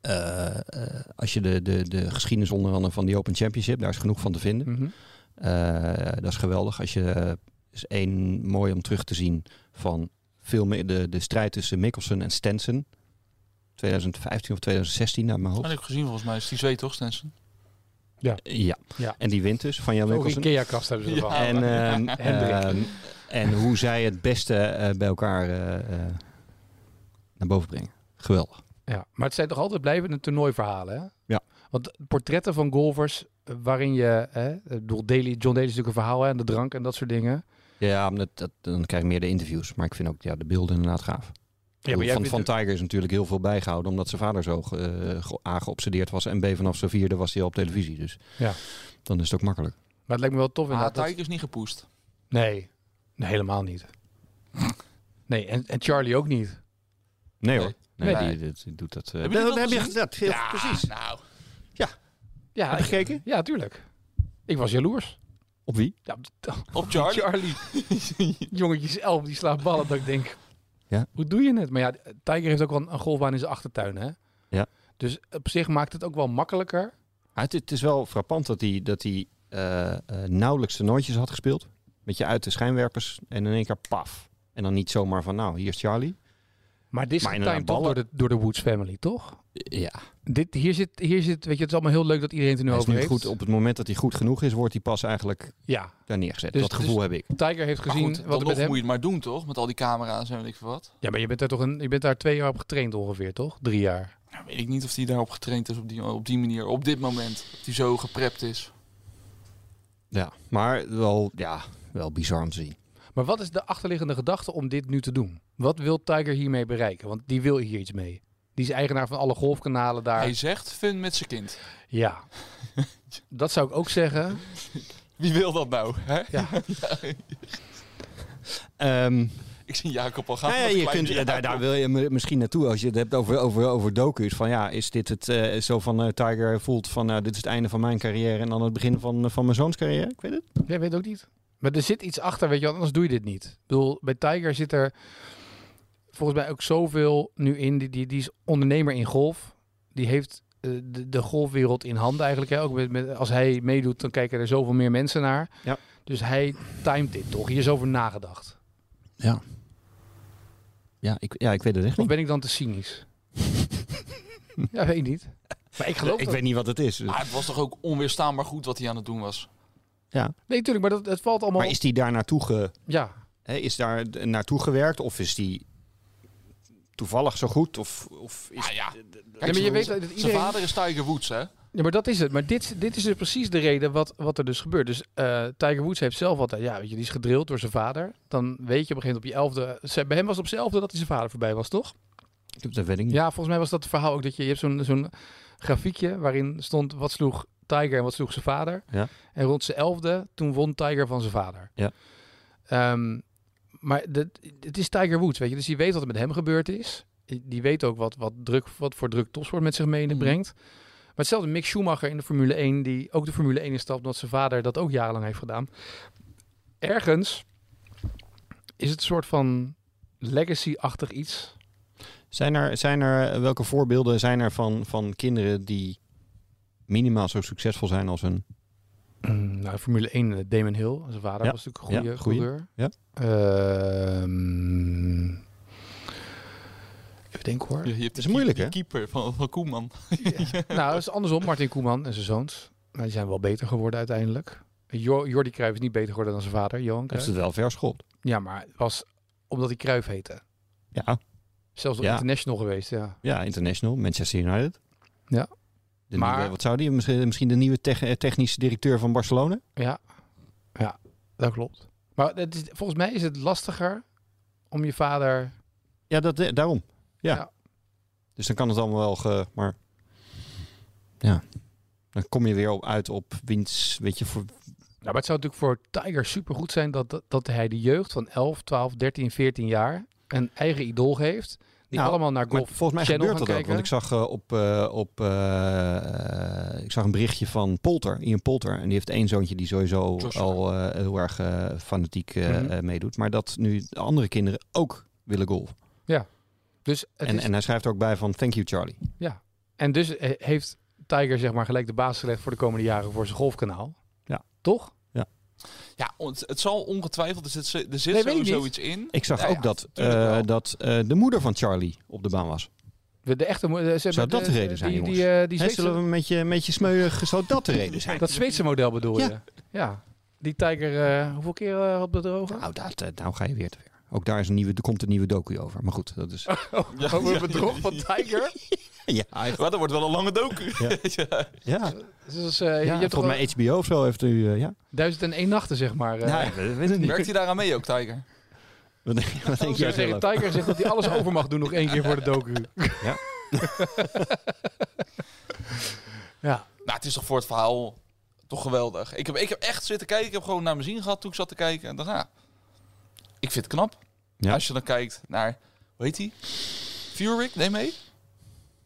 [SPEAKER 3] eh, eh, als je de, de, de geschiedenis onder andere van die Open Championship, daar is genoeg van te vinden.
[SPEAKER 2] Mhm.
[SPEAKER 3] Eh, dat is geweldig. Als je eh, is één mooi om terug te zien van veel meer de, de strijd tussen Mickelson en Stenson. 2015 of 2016 naar mijn
[SPEAKER 1] Dat
[SPEAKER 3] hoofd.
[SPEAKER 1] heb ik gezien volgens mij. Is die twee toch, Stenson?
[SPEAKER 3] Ja.
[SPEAKER 2] Ja. Oh,
[SPEAKER 3] En die wint dus van Jan
[SPEAKER 2] Ook een
[SPEAKER 3] Mickelson.
[SPEAKER 2] IKEA-kast hebben ze
[SPEAKER 1] Ja.
[SPEAKER 2] ervan.
[SPEAKER 3] En, ehm,
[SPEAKER 2] Hendrik.
[SPEAKER 3] ehm, en hoe zij het beste eh, bij elkaar eh, eh, naar boven brengen. Geweldig.
[SPEAKER 2] Ja, maar het zijn toch altijd blijvende toernooiverhalen, hè?
[SPEAKER 3] Ja.
[SPEAKER 2] Want portretten van golfers eh, waarin je... Hè, ik bedoel, Daly, John Daly is natuurlijk een verhaal hè, en de drank en dat soort dingen.
[SPEAKER 3] Ja, maar dat, dat- dan krijg je meer de interviews. Maar ik vind ook ja, de beelden inderdaad gaaf.
[SPEAKER 2] Ja,
[SPEAKER 3] van, van Tiger is natuurlijk heel veel bijgehouden. Omdat zijn vader zo eh, ge- A geobsedeerd was. En B vanaf zijn vierde was hij al op televisie. Dus
[SPEAKER 2] Ja.
[SPEAKER 3] dan is het ook makkelijk.
[SPEAKER 2] Maar het lijkt me wel tof
[SPEAKER 1] Ah,
[SPEAKER 2] inderdaad. dat-
[SPEAKER 1] Tiger is niet gepoest.
[SPEAKER 2] Nee. nee, helemaal niet. nee, en, en Charlie ook niet.
[SPEAKER 3] Nee
[SPEAKER 1] Nee.
[SPEAKER 3] hoor. Nee,
[SPEAKER 1] Nee.
[SPEAKER 3] Die, die- die doet dat. eh,
[SPEAKER 1] Hebben jullie dat gezien?
[SPEAKER 3] dat heel- precies.
[SPEAKER 1] Nou,
[SPEAKER 2] Ja, ik-
[SPEAKER 3] gekeken?
[SPEAKER 2] ja, tuurlijk. Ik was jaloers.
[SPEAKER 3] Op wie?
[SPEAKER 2] Ja, op de-
[SPEAKER 1] op Charlie.
[SPEAKER 2] Charlie. Jongetjes elf, die slaat ballen dat ik denk...
[SPEAKER 3] Ja.
[SPEAKER 2] Hoe doe je het? Maar ja, Tiger heeft ook wel een, een golfbaan in zijn achtertuin, hè?
[SPEAKER 3] Ja.
[SPEAKER 2] Dus op zich maakt het ook wel makkelijker.
[SPEAKER 3] Maar Ah, het, het is wel frappant dat hij, dat hij eh, eh, nauwelijks toernooitjes had gespeeld. Met je uit de schijnwerpers en in één keer paf. En dan niet zomaar van, nou, hier is Charlie.
[SPEAKER 2] Maar dit is
[SPEAKER 3] Maar
[SPEAKER 2] getimed
[SPEAKER 3] inderdaad
[SPEAKER 2] toch door
[SPEAKER 3] ballen.
[SPEAKER 2] de, door de Woods family, toch?
[SPEAKER 3] Ja,
[SPEAKER 2] Dit, hier, zit, hier zit, weet je, het is allemaal heel leuk dat iedereen het er nu
[SPEAKER 3] hij is
[SPEAKER 2] over
[SPEAKER 3] nu
[SPEAKER 2] heeft.
[SPEAKER 3] goed. Op het moment dat hij goed genoeg is, wordt hij pas eigenlijk
[SPEAKER 2] Ja,
[SPEAKER 3] daar neergezet.
[SPEAKER 2] Dus-
[SPEAKER 3] dat gevoel
[SPEAKER 2] dus-
[SPEAKER 3] heb ik.
[SPEAKER 2] Tiger heeft
[SPEAKER 1] Maar
[SPEAKER 2] gezien
[SPEAKER 1] goed,
[SPEAKER 2] wat
[SPEAKER 1] dan nog
[SPEAKER 2] er met
[SPEAKER 1] moet
[SPEAKER 2] hem...
[SPEAKER 1] je het maar doen, toch? Met al die camera's en weet ik veel wat.
[SPEAKER 2] Ja, maar je bent, daar toch een, je bent daar twee jaar op getraind ongeveer, toch? Drie jaar.
[SPEAKER 1] Nou, weet ik niet of hij daarop getraind is op die, op die manier, op dit moment. Of hij zo geprept is.
[SPEAKER 3] Ja, maar wel, ja, wel bizar om te zien.
[SPEAKER 2] Maar wat is de achterliggende gedachte om dit nu te doen? Wat wil Tiger hiermee bereiken? Want die wil hier iets mee. Die is eigenaar van alle golfkanalen daar.
[SPEAKER 1] Hij zegt fun met zijn kind.
[SPEAKER 2] Ja. dat zou ik ook zeggen.
[SPEAKER 1] Wie wil dat nou? Hè?
[SPEAKER 3] Ehm,
[SPEAKER 1] Ik zie Jacob al gaan.
[SPEAKER 3] nou ja,
[SPEAKER 1] met
[SPEAKER 3] je
[SPEAKER 1] kleine
[SPEAKER 3] kunt,
[SPEAKER 1] Jacob.
[SPEAKER 3] daar, daar wil je mi- misschien naartoe als je het hebt over, over, over docu's. Van ja, is dit het eh, zo van eh, Tiger voelt van nou, dit is het einde van mijn carrière en dan het begin van, eh, van mijn zoons carrière? Ik weet het.
[SPEAKER 2] Jij weet ook niet. Maar er zit iets achter, weet je, wel, anders doe je dit niet. Ik bedoel, bij Tiger zit er volgens mij ook zoveel nu in. Die, die, die is ondernemer in golf. Die heeft eh, de, de golfwereld in handen eigenlijk. Hè? Ook met, met, als hij meedoet, dan kijken er zoveel meer mensen naar.
[SPEAKER 3] Ja.
[SPEAKER 2] Dus hij timed dit toch? Hier is over nagedacht.
[SPEAKER 3] Ja, ik, ja, ik weet het echt
[SPEAKER 2] Of
[SPEAKER 3] niet.
[SPEAKER 2] ben ik dan te cynisch? ja, weet ik niet. Maar ik geloof
[SPEAKER 3] Ik
[SPEAKER 2] dat.
[SPEAKER 3] weet niet wat het is.
[SPEAKER 1] Maar Ah, het was toch ook onweerstaanbaar goed wat hij aan het doen was.
[SPEAKER 2] Nee, natuurlijk, maar dat, het valt allemaal...
[SPEAKER 3] Maar is die daar naartoe ge,
[SPEAKER 2] Ja,
[SPEAKER 3] hè, is daar d- naartoe gewerkt of is die toevallig zo goed of, of is
[SPEAKER 1] Ah, ja.
[SPEAKER 2] Nee, maar je weet dat
[SPEAKER 1] Zijn
[SPEAKER 2] iedereen...
[SPEAKER 1] vader is Tiger Woods, hè?
[SPEAKER 2] Ja, maar dat is het. Maar dit, dit is dus precies de reden wat, wat er dus gebeurt. Dus eh, Tiger Woods heeft zelf altijd... Ja, weet je, die is gedrild door zijn vader. Dan weet je op een gegeven moment op je elfde... ze- Bij hem was het op zijn elfde dat hij zijn vader voorbij was, toch?
[SPEAKER 3] dat weet ik niet.
[SPEAKER 2] Ja, volgens mij was dat het verhaal ook dat je... Je hebt zo'n zo'n grafiekje waarin stond wat sloeg Tiger en wat sloeg zijn vader.
[SPEAKER 3] Ja.
[SPEAKER 2] En rond zijn elfde, toen won Tiger van zijn vader.
[SPEAKER 3] Ja.
[SPEAKER 2] Ehm, maar de, het is Tiger Woods, weet je. Dus die weet wat er met hem gebeurd is. Die weet ook wat, wat, druk, wat voor druk topsport met zich mee
[SPEAKER 1] Mhm.
[SPEAKER 2] brengt. Maar hetzelfde Mick Schumacher in de Formule 1, die ook de Formule 1 instapt, omdat zijn vader dat ook jarenlang heeft gedaan. Ergens is het een soort van legacy-achtig iets.
[SPEAKER 3] Zijn er, zijn er, eh, welke voorbeelden zijn er van, van kinderen die minimaal zo succesvol zijn als hun
[SPEAKER 2] Mm, Nou, Formule 1, eh, Damon Hill, zijn vader
[SPEAKER 3] Ja,
[SPEAKER 2] was natuurlijk een goede
[SPEAKER 3] ja, goeie,
[SPEAKER 2] coureur.
[SPEAKER 3] ja.
[SPEAKER 2] Ehm, even denken hoor.
[SPEAKER 1] Je, je hebt
[SPEAKER 3] is moeilijk,
[SPEAKER 1] die
[SPEAKER 3] hè?
[SPEAKER 1] keeper van, van Koeman.
[SPEAKER 2] Nou, dat is andersom. Martin Koeman en zijn zoons. Maar die zijn wel beter geworden uiteindelijk. Jo- Jordi Cruijff is niet beter geworden dan zijn vader, Johan
[SPEAKER 3] Heeft
[SPEAKER 2] Cruijff.
[SPEAKER 3] het wel verschopt?
[SPEAKER 2] Ja, maar het was omdat hij Cruijff heette.
[SPEAKER 3] Ja.
[SPEAKER 2] Zelfs wel
[SPEAKER 3] Ja.
[SPEAKER 2] international geweest, ja.
[SPEAKER 3] ja, international, Manchester United.
[SPEAKER 2] Ja.
[SPEAKER 3] De
[SPEAKER 2] Maar-
[SPEAKER 3] nieuwe- wat zou die? Misschien, misschien de nieuwe tech- eh, technische directeur van Barcelona?
[SPEAKER 2] Ja, ja dat klopt. Maar het is, volgens mij is het lastiger om je vader...
[SPEAKER 3] Ja, dat, eh, daarom. Ja.
[SPEAKER 2] Ja.
[SPEAKER 3] Dus dan kan het allemaal wel, ge- maar ja. Dan kom je weer op, uit op winst, weet je, voor,
[SPEAKER 2] Nou, maar het zou natuurlijk voor Tiger supergoed zijn dat, dat, dat hij de jeugd van 11, 12, 13, 14 jaar een eigen idool heeft. Die
[SPEAKER 3] Nou,
[SPEAKER 2] allemaal naar
[SPEAKER 3] Maar
[SPEAKER 2] golf...
[SPEAKER 3] volgens mij
[SPEAKER 2] Channel
[SPEAKER 3] gebeurt dat
[SPEAKER 2] gaan
[SPEAKER 3] ook. Want ik
[SPEAKER 2] kijken.
[SPEAKER 3] zag, eh, op, eh, op, eh, eh, ik zag een berichtje van Polter, Ian Polter. En die heeft één zoontje die sowieso
[SPEAKER 1] Joshua.
[SPEAKER 3] al eh, heel erg eh, fanatiek eh,
[SPEAKER 2] Mhm.
[SPEAKER 3] eh, meedoet. Maar dat nu de andere kinderen ook willen golfen.
[SPEAKER 2] Dus het
[SPEAKER 3] En,
[SPEAKER 2] is-
[SPEAKER 3] en hij schrijft er ook bij van thank you Charlie.
[SPEAKER 2] En dus eh, heeft Tiger zeg maar gelijk de baas gelegd voor de komende jaren voor zijn golfkanaal.
[SPEAKER 3] Ja.
[SPEAKER 2] Toch?
[SPEAKER 1] Ja, on- het, het zal ongetwijfeld, er zit, zo- er
[SPEAKER 2] Nee,
[SPEAKER 1] zit
[SPEAKER 2] weet ik niet.
[SPEAKER 1] sowieso iets in.
[SPEAKER 3] Ik zag
[SPEAKER 1] Ja,
[SPEAKER 3] ook
[SPEAKER 1] ja,
[SPEAKER 3] dat,
[SPEAKER 1] tuurlijk
[SPEAKER 3] eh,
[SPEAKER 1] wel.
[SPEAKER 3] dat eh, de moeder van Charlie op de baan was.
[SPEAKER 2] De, de echte, mo- eh, ze hebben
[SPEAKER 3] Zou dat de reden zijn,
[SPEAKER 2] die, die,
[SPEAKER 3] jongens?
[SPEAKER 2] eh, die
[SPEAKER 3] Hij
[SPEAKER 2] Zweedse-
[SPEAKER 3] zullen we een beetje, een beetje smeuig, zou dat de reden zijn?
[SPEAKER 2] Dat Zweedse model bedoel
[SPEAKER 3] Ja.
[SPEAKER 2] je? Ja. Die Tiger, eh, hoeveel keer eh, had bedrogen?
[SPEAKER 3] Nou, dat, eh, nou ga je weer te ver. Ook daar is een nieuwe, er komt een nieuwe docu over. Maar goed, dat is...
[SPEAKER 1] Ja,
[SPEAKER 2] Over
[SPEAKER 1] ja.
[SPEAKER 2] het bedrog van Tiger?
[SPEAKER 3] ja,
[SPEAKER 1] Maar dat wordt wel een lange docu.
[SPEAKER 3] Ja.
[SPEAKER 1] Ja.
[SPEAKER 3] ja,
[SPEAKER 2] Dus, eh, je
[SPEAKER 3] ja,
[SPEAKER 2] hebt toch
[SPEAKER 3] volgens mij HBO of zo heeft u... eh, ja.
[SPEAKER 2] duizend en één nachten, zeg maar. eh.
[SPEAKER 3] Nou, we- we weten het niet.
[SPEAKER 1] Werkt hij daaraan mee ook, Tiger?
[SPEAKER 3] Wat denk, wat denk
[SPEAKER 2] Als
[SPEAKER 3] jij
[SPEAKER 2] je tegen
[SPEAKER 3] zelf?
[SPEAKER 2] Tiger zegt dat hij alles over mag doen nog één keer voor de docu.
[SPEAKER 3] Ja.
[SPEAKER 2] ja.
[SPEAKER 1] Nou, het is toch voor het verhaal toch geweldig. Ik heb, ik heb echt zitten kijken. Ik heb gewoon naar mijn zin gehad toen ik zat te kijken. En dacht, ja, ik vind het knap.
[SPEAKER 3] Ja.
[SPEAKER 1] Als je dan kijkt naar, hoe heet hij? Furyk, neem mee.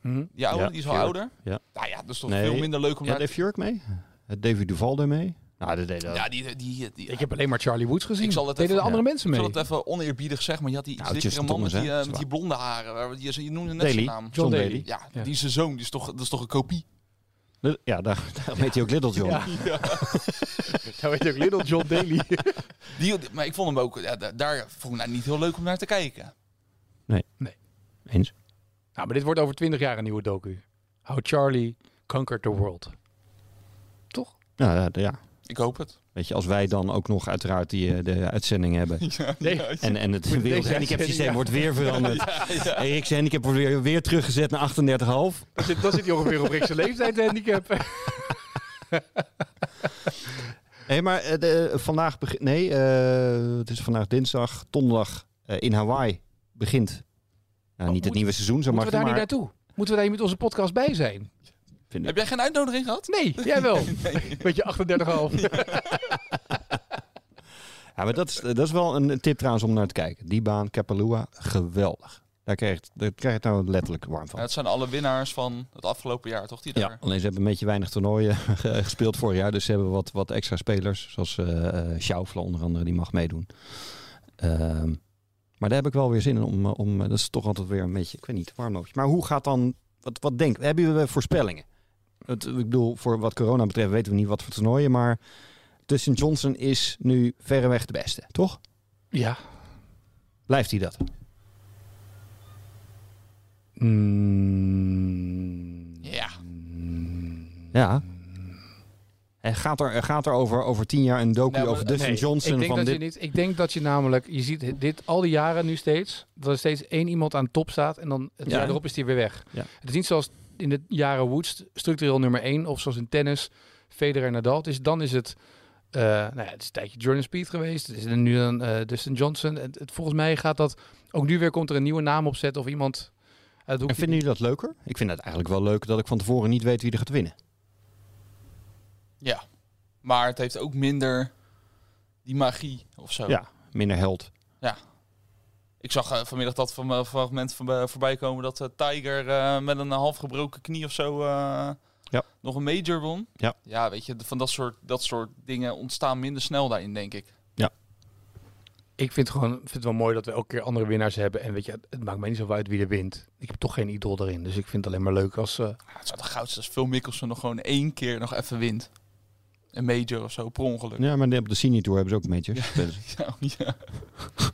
[SPEAKER 2] Hm?
[SPEAKER 1] Die oude,
[SPEAKER 3] Ja,
[SPEAKER 1] die is al
[SPEAKER 3] Furyk.
[SPEAKER 1] ouder.
[SPEAKER 3] Ja.
[SPEAKER 1] Nou ja, dat is toch
[SPEAKER 3] Nee.
[SPEAKER 1] veel minder leuk om
[SPEAKER 3] Ja,
[SPEAKER 1] naar te
[SPEAKER 3] Dave Jurk mee? Eh, Davy Duval ermee? Nou, dat deed dat.
[SPEAKER 1] Ja, die... die, die, die-
[SPEAKER 2] Ik heb alleen maar Charlie Woods gezien.
[SPEAKER 1] Ik zal het
[SPEAKER 2] Deden
[SPEAKER 1] even-
[SPEAKER 2] de andere mensen
[SPEAKER 1] ik
[SPEAKER 2] mee.
[SPEAKER 1] zal het even oneerbiedig zeggen, maar je had die iets
[SPEAKER 3] Nou,
[SPEAKER 1] dikkere
[SPEAKER 3] Justin
[SPEAKER 1] man met
[SPEAKER 3] Thomas,
[SPEAKER 1] die,
[SPEAKER 3] hè,
[SPEAKER 1] eh,
[SPEAKER 3] is
[SPEAKER 1] met die blonde haren. waar we- Je, je noemde net
[SPEAKER 3] Daly.
[SPEAKER 1] zijn naam.
[SPEAKER 2] John Daly.
[SPEAKER 1] Ja,
[SPEAKER 2] Ja.
[SPEAKER 1] die is zijn zoon. Die is toch, dat is toch een kopie?
[SPEAKER 3] Ja, daar, daar heet hij ook Little John.
[SPEAKER 2] Ja. Nou weet ook Little John Daly.
[SPEAKER 1] Die, maar ik vond hem ook... Ja, da- daar vond ik nou niet heel leuk om naar te kijken.
[SPEAKER 3] Eens.
[SPEAKER 2] nou, maar dit wordt over twintig jaar een nieuwe docu. How Charlie Conquered the World. Toch?
[SPEAKER 3] Nou, ja, d- ja.
[SPEAKER 1] Ik hoop het.
[SPEAKER 3] Weet je, als wij dan ook nog uiteraard die, eh, de uitzending hebben.
[SPEAKER 2] Nee.
[SPEAKER 3] En, en het
[SPEAKER 2] deze
[SPEAKER 3] wereldhandicapsysteem
[SPEAKER 2] uitzending,
[SPEAKER 3] wordt weer veranderd. Erik's handicap wordt weer, weer teruggezet naar 38,5.
[SPEAKER 2] Dan zit, dan zit hij ongeveer op rechtse leeftijd handicap.
[SPEAKER 3] Nee, maar eh, de, vandaag begint. Nee, eh, het is vandaag dinsdag, donderdag eh, in Hawaii begint. Nou, niet
[SPEAKER 2] moet-
[SPEAKER 3] het nieuwe seizoen, zo
[SPEAKER 2] Oh, Moeten
[SPEAKER 3] mag
[SPEAKER 2] we
[SPEAKER 3] het
[SPEAKER 2] daar niet
[SPEAKER 3] maar.
[SPEAKER 2] naartoe? Moeten we daar met onze podcast bij zijn?
[SPEAKER 3] vind ik.
[SPEAKER 1] Heb jij geen uitnodiging gehad?
[SPEAKER 2] Nee, jij wel. Met je 38,5.
[SPEAKER 3] Ja, maar dat is, dat is wel een tip trouwens om naar te kijken. Die baan, Kapalua, geweldig. Daar krijg je het- daar krijg je het nou letterlijk warm
[SPEAKER 1] Ja,
[SPEAKER 3] van.
[SPEAKER 1] het zijn alle winnaars van het afgelopen jaar, toch? Die
[SPEAKER 3] Ja,
[SPEAKER 1] daar...
[SPEAKER 3] alleen ze hebben een beetje weinig toernooien ge- gespeeld vorig jaar. Dus ze hebben wat, wat extra spelers. Zoals eh eh, Schaufele onder andere, die mag meedoen. Ehm, maar daar heb ik wel weer zin in om, eh, om eh, dat is toch altijd weer een beetje, ik weet niet, warmloopje. Maar hoe gaat dan, wat, wat denk, hebben we voorspellingen? Het, ik bedoel, voor wat corona betreft weten we niet wat voor toernooien, maar Tussen Johnson is nu verreweg de beste, toch?
[SPEAKER 2] Ja.
[SPEAKER 3] Blijft hij dat? Mm.
[SPEAKER 1] Ja.
[SPEAKER 3] Ja. En gaat er, gaat er over, over tien jaar een docu
[SPEAKER 1] Nou, maar-
[SPEAKER 3] over Dustin
[SPEAKER 2] Eh, Nee, ik
[SPEAKER 3] Johnson
[SPEAKER 2] denk
[SPEAKER 3] van
[SPEAKER 2] dat
[SPEAKER 3] dit...
[SPEAKER 2] Je niet, ik denk dat je namelijk, je ziet dit al die jaren nu steeds, dat er steeds één iemand aan top staat en dan het
[SPEAKER 3] Ja.
[SPEAKER 2] jaar erop is die weer weg.
[SPEAKER 3] Ja.
[SPEAKER 2] Het is niet zoals in de jaren Woods, structureel nummer één, of zoals in tennis, Federer en Nadal. Dus dan is het, eh, nou ja, het is een tijdje Jordan Speed geweest, het is er nu dan eh, Dustin Johnson. Het, het- volgens mij gaat dat, ook nu weer komt er een nieuwe naam opzetten of iemand... uit het
[SPEAKER 3] En
[SPEAKER 2] hoekje-
[SPEAKER 3] vinden jullie dat leuker? Ik vind het eigenlijk wel leuk dat ik van tevoren niet weet wie er gaat winnen.
[SPEAKER 1] Ja. Maar het heeft ook minder die magie of zo.
[SPEAKER 3] Ja. Minder held.
[SPEAKER 1] Ik zag eh, vanmiddag dat van, eh, fragment van, eh, voorbij komen dat eh, Tiger eh, met een half gebroken knie of zo eh,
[SPEAKER 3] Ja.
[SPEAKER 1] nog een major won.
[SPEAKER 3] Ja.
[SPEAKER 1] ja, weet je, de- van dat soort, dat soort dingen ontstaan minder snel daarin, denk ik.
[SPEAKER 2] Ik vind, gewoon, vind het wel mooi dat we elke keer andere winnaars hebben. En weet je, het maakt mij niet zoveel uit wie er wint. Ik heb toch geen idool erin. Dus ik vind het alleen maar leuk als... eh,
[SPEAKER 1] Ja, het zou toch goud zijn als Phil Mickelson nog gewoon één keer nog even wint. Een major of zo, per ongeluk.
[SPEAKER 3] Ja, maar op de senior tour hebben ze ook Dus- majors. Spelen ze.
[SPEAKER 1] Ja, ja.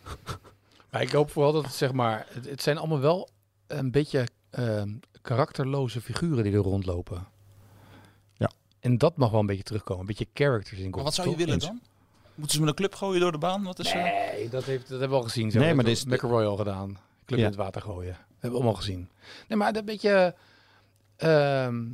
[SPEAKER 2] Maar ik hoop vooral dat het zeg maar, het, het zijn allemaal wel een beetje ehm, karakterloze figuren die er rondlopen.
[SPEAKER 3] Ja.
[SPEAKER 2] En dat mag wel een beetje terugkomen, een beetje characters in.
[SPEAKER 1] Maar
[SPEAKER 2] golf,
[SPEAKER 1] wat zou je
[SPEAKER 2] toch?
[SPEAKER 1] willen dan? Moeten ze met een club gooien door de baan? Wat is eh, er?
[SPEAKER 2] Nee, dat, heeft, dat hebben we al gezien. Zo nee,
[SPEAKER 3] Nee, maar
[SPEAKER 2] maar
[SPEAKER 3] dit is-
[SPEAKER 2] dit McElroy al gedaan. Club
[SPEAKER 3] Ja.
[SPEAKER 2] in het water gooien. Dat hebben we allemaal gezien. Nee, maar een beetje... ehm,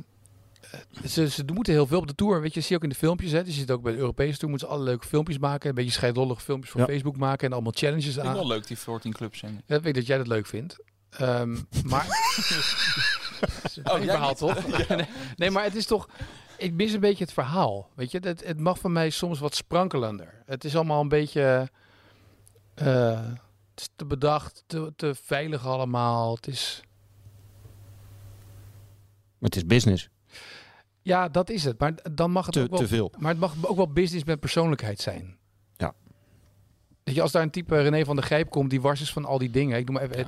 [SPEAKER 2] eh, ze, ze moeten heel veel op de tour. Weet je, zie je ook in de filmpjes. Hè. Je ziet ook bij de Europese tour. Moeten ze alle leuke filmpjes maken. Een beetje scheidollige filmpjes voor
[SPEAKER 3] Ja.
[SPEAKER 2] Facebook maken. En allemaal challenges
[SPEAKER 1] Ik vind
[SPEAKER 2] aan.
[SPEAKER 1] wel leuk die 14 clubs zingen.
[SPEAKER 2] Ja, ik weet dat jij dat leuk vindt. Ehm, maar. Dat is een
[SPEAKER 1] Oh, jij
[SPEAKER 2] verhaal
[SPEAKER 1] niet?
[SPEAKER 2] toch? Nee, nee, maar het is toch. Ik mis een beetje het verhaal. Weet je, het, het mag van mij soms wat sprankelender. Het is allemaal een beetje. eh, het is te bedacht, te, te veilig allemaal. Het is.
[SPEAKER 3] Maar het is business.
[SPEAKER 2] Ja, dat is het. Maar dan mag het
[SPEAKER 3] Te,
[SPEAKER 2] ook wel.
[SPEAKER 3] te veel.
[SPEAKER 2] Maar het mag ook wel business met persoonlijkheid zijn.
[SPEAKER 3] Ja.
[SPEAKER 2] Weet je, als daar een type René van der Gijp komt die wars is van al die dingen. Ik noem maar even.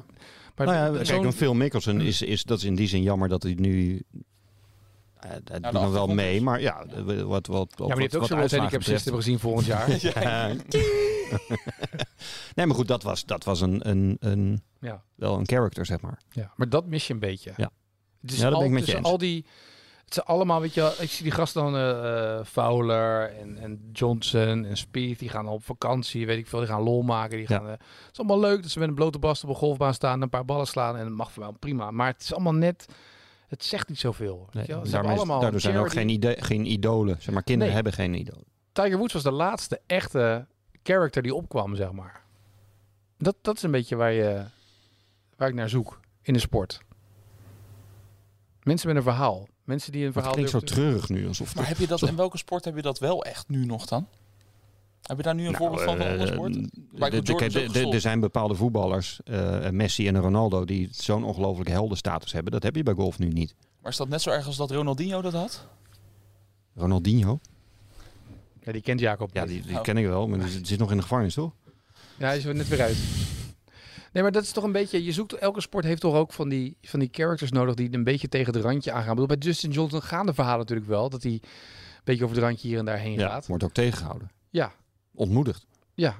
[SPEAKER 2] Maar
[SPEAKER 3] nou ja,
[SPEAKER 2] zo'n-
[SPEAKER 3] kijk, een Phil Mickelson is, is, dat is in die zin jammer dat hij nu... eh dat doet nog wel
[SPEAKER 1] achtergrond
[SPEAKER 3] mee, maar ja, eh, wat, wat, wat,
[SPEAKER 2] Ja, maar je hebt ook zo'n
[SPEAKER 3] uitslagen
[SPEAKER 2] handicap
[SPEAKER 3] betreft.
[SPEAKER 2] hebben gezien volgend jaar.
[SPEAKER 3] nee, maar goed, dat was, dat was een, een, een,
[SPEAKER 2] Ja.
[SPEAKER 3] wel een character, zeg maar.
[SPEAKER 2] ja, maar dat mis je een beetje.
[SPEAKER 3] Ja.
[SPEAKER 2] Dus
[SPEAKER 3] Ja, dat
[SPEAKER 2] al,
[SPEAKER 3] ben ik met je
[SPEAKER 2] tussen
[SPEAKER 3] eens.
[SPEAKER 2] al die, het zijn allemaal, weet je, wel, ik zie die gasten dan eh, eh, Fowler en, en Johnson en Speed, die gaan op vakantie, weet ik veel, die gaan lol maken, die
[SPEAKER 3] Ja.
[SPEAKER 2] gaan. eh, het is allemaal leuk dat ze met een blote bast op een golfbaan staan, en een paar ballen slaan en dat mag voor mij prima. Maar het is allemaal net, het zegt niet zoveel. Weet
[SPEAKER 3] Nee,
[SPEAKER 2] je wel. Ze hebben
[SPEAKER 3] daarmee is-
[SPEAKER 2] allemaal
[SPEAKER 3] daardoor zijn er ook
[SPEAKER 2] charity.
[SPEAKER 3] geen, ide- geen idolen. Zeg maar, kinderen
[SPEAKER 2] Nee.
[SPEAKER 3] hebben geen idolen.
[SPEAKER 2] Tiger Woods was de laatste echte character die opkwam, zeg maar. Dat, dat is een beetje waar, je, waar ik naar zoek in de sport. Mensen met een verhaal. Mensen die een
[SPEAKER 3] Maar het
[SPEAKER 2] verhaal
[SPEAKER 3] klinkt zo
[SPEAKER 2] durven te-
[SPEAKER 3] treurig nu, alsof...
[SPEAKER 1] Maar heb je dat, in welke sport heb je dat wel echt nu nog dan? Heb je daar
[SPEAKER 3] Nou,
[SPEAKER 1] nu een voorbeeld
[SPEAKER 3] eh,
[SPEAKER 1] van, van andere sport? Michael Jordan is ook gestopt.
[SPEAKER 3] Er zijn bepaalde voetballers, eh, Messi en Ronaldo, die zo'n ongelooflijke heldenstatus hebben. Dat heb je bij golf nu niet.
[SPEAKER 1] Maar is dat net zo erg als dat Ronaldinho dat had?
[SPEAKER 3] Ronaldinho?
[SPEAKER 2] Ja, die kent Jacob.
[SPEAKER 3] Ja,
[SPEAKER 2] niet.
[SPEAKER 3] die, die
[SPEAKER 1] Oh.
[SPEAKER 3] ken ik wel, maar die zit zit nog in de gevangenis, toch?
[SPEAKER 2] Ja, hij is er net weer uit. Nee, maar dat is toch een beetje... Je zoekt, elke sport heeft toch ook van die, van die characters nodig... die een beetje tegen het randje aangaan. Ik bedoel, bij Justin Johnson gaan de verhalen natuurlijk wel... dat hij een beetje over het randje hier en daar heen gaat.
[SPEAKER 3] Wordt ook tegengehouden.
[SPEAKER 2] Ja.
[SPEAKER 3] Ontmoedigd.
[SPEAKER 2] Ja.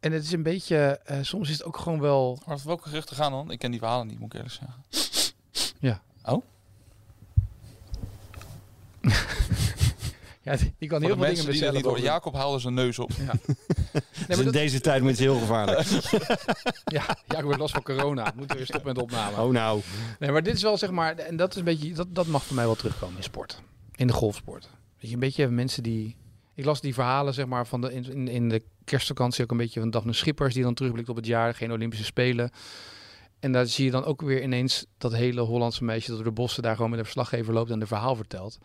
[SPEAKER 2] En het is een beetje... eh, soms is het ook gewoon wel...
[SPEAKER 1] Maar over welke geruchten gaan dan? Ik ken die verhalen niet, moet ik eerlijk zeggen.
[SPEAKER 2] Ja, die- die kan
[SPEAKER 1] Voor
[SPEAKER 2] heel
[SPEAKER 1] de
[SPEAKER 2] veel dingen
[SPEAKER 1] mensen die dat
[SPEAKER 2] bestellen.
[SPEAKER 1] niet horen.
[SPEAKER 2] boven-
[SPEAKER 1] Jacob haalde zijn neus op.
[SPEAKER 2] Nee,
[SPEAKER 3] Dus
[SPEAKER 2] maar
[SPEAKER 3] in
[SPEAKER 2] dat,
[SPEAKER 3] deze tijd met heel gevaarlijk.
[SPEAKER 2] ja, Jacob heeft last van corona. Moeten we weer stoppen met de opname.
[SPEAKER 3] oh nou.
[SPEAKER 2] Nee, maar dit is wel zeg maar, en dat is een beetje, dat, dat mag voor mij wel terugkomen in sport. In de golfsport. Weet je, een beetje mensen die. Ik las die verhalen zeg maar van de, in- in, in de kerstvakantie ook een beetje van Daphne Schippers, die dan terugblikt op het jaar, geen Olympische Spelen. En daar zie je dan ook weer ineens dat hele Hollandse meisje dat door de bossen daar gewoon met een verslaggever loopt en een verhaal vertelt.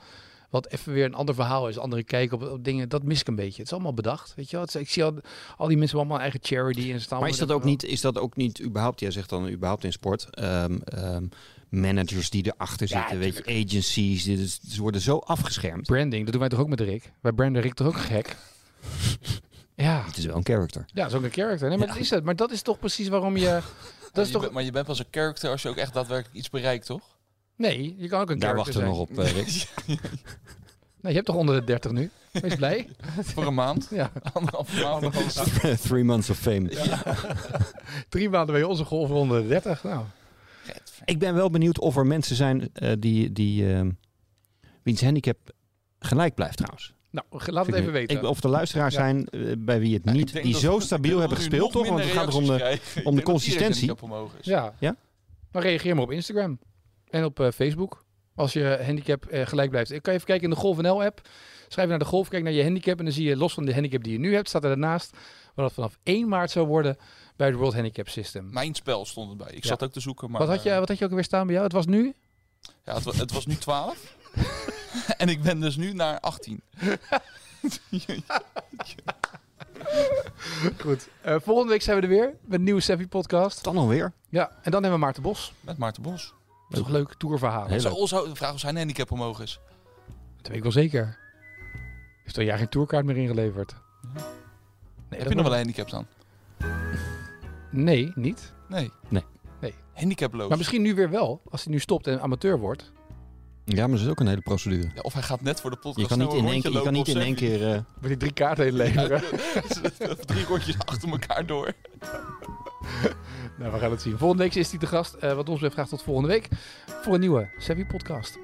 [SPEAKER 2] Wat even weer een ander verhaal is, andere kijk op, op dingen, dat mis ik een beetje. Het is allemaal bedacht, weet je wel. Het is- Ik zie al, al die mensen hebben allemaal eigen charity en staan.
[SPEAKER 3] Maar is dat ook niet, is dat ook niet überhaupt, jij zegt dan überhaupt in sport, ehm, ehm, managers die erachter
[SPEAKER 2] Ja,
[SPEAKER 3] zitten, weet je, agencies, dit is, ze worden zo afgeschermd.
[SPEAKER 2] Branding, dat doen wij toch ook met Rick? Wij branden Rick toch ook gek? ja.
[SPEAKER 3] Het is wel een character.
[SPEAKER 2] Ja, dat is ook een character. Nee, maar, dat is het. maar dat is toch precies waarom je... Dat is
[SPEAKER 1] je
[SPEAKER 2] toch...
[SPEAKER 1] bent- maar je bent pas een character als je ook echt daadwerkelijk iets bereikt, toch?
[SPEAKER 2] Nee, je kan ook een
[SPEAKER 3] Daar
[SPEAKER 2] character
[SPEAKER 3] wachten we
[SPEAKER 2] zijn.
[SPEAKER 3] nog op, eh, Rick.
[SPEAKER 2] Nee, je hebt toch onder de 30 nu? Wees blij.
[SPEAKER 1] Voor een maand.
[SPEAKER 2] Ja.
[SPEAKER 1] Anderhalve maand.
[SPEAKER 3] Three months of fame.
[SPEAKER 2] Drie maanden ben je onze golf onder de 30. Nou,
[SPEAKER 3] Ik ben wel benieuwd of er mensen zijn eh, die, die ehm, wiens handicap gelijk blijft trouwens.
[SPEAKER 2] nou ge- laat het
[SPEAKER 3] Vind
[SPEAKER 2] even
[SPEAKER 3] ik-
[SPEAKER 2] weten.
[SPEAKER 3] Ik, of er luisteraars
[SPEAKER 2] Ja.
[SPEAKER 3] zijn eh, bij wie het niet, die zo stabiel hebben gespeeld, toch? Want het gaat er om de... om de consistentie.
[SPEAKER 1] Omhoog is.
[SPEAKER 2] Ja.
[SPEAKER 3] Ja?
[SPEAKER 2] Maar reageer maar op Instagram. En op eh, Facebook. Als je handicap eh, gelijk blijft. Ik kan even kijken in de Golf NL app. Schrijf naar de golf, kijk naar je handicap. En dan zie je los van de handicap die je nu hebt, staat er daarnaast. Wat dat vanaf 1 maart zou worden bij het World Handicap System.
[SPEAKER 1] Mijn spel stond erbij. Ik
[SPEAKER 2] Ja.
[SPEAKER 1] zat ook te zoeken, maar...
[SPEAKER 2] wat, had je,
[SPEAKER 1] eh,
[SPEAKER 2] wat had je ook weer staan bij jou? Het was nu?
[SPEAKER 1] ja, het, wa- het was nu 12. en ik ben dus nu naar 18.
[SPEAKER 2] Goed. Eh, volgende week zijn we er weer met een nieuwe Savvy podcast.
[SPEAKER 3] Dan alweer.
[SPEAKER 2] Ja, en dan hebben we Maarten Bos.
[SPEAKER 1] Met Maarten Bos.
[SPEAKER 2] Dat is toch leuk tourverhaal.
[SPEAKER 3] Heel
[SPEAKER 1] Zo,
[SPEAKER 3] leuk.
[SPEAKER 1] zo- de vraag of zijn handicap omhoog is.
[SPEAKER 2] Dat weet ik wel zeker. Heeft al een jaar geen tourkaart meer ingeleverd. Nee,
[SPEAKER 1] Heb je nog wel een handicap dan?
[SPEAKER 2] Nee, niet.
[SPEAKER 1] Nee.
[SPEAKER 3] Nee.
[SPEAKER 2] Nee.
[SPEAKER 1] Handicaploos.
[SPEAKER 2] Maar misschien nu weer wel, als hij nu stopt en amateur wordt.
[SPEAKER 3] Ja, maar er is ook een hele procedure.
[SPEAKER 1] Ja, of hij gaat net voor de podcast
[SPEAKER 3] Je kan niet
[SPEAKER 1] snel nou een
[SPEAKER 3] in één
[SPEAKER 1] rondje
[SPEAKER 3] keer, je
[SPEAKER 1] lopen
[SPEAKER 3] kan niet in
[SPEAKER 1] op
[SPEAKER 3] één
[SPEAKER 1] Sevi.
[SPEAKER 3] keer... eh,
[SPEAKER 2] Wil hij drie kaarten heen leveren?
[SPEAKER 1] Drie rondjes achter elkaar door.
[SPEAKER 2] nou, we gaan het zien. Volgende week is hij te gast. Eh, wat ons betreft graag tot volgende week voor een nieuwe Savvy podcast.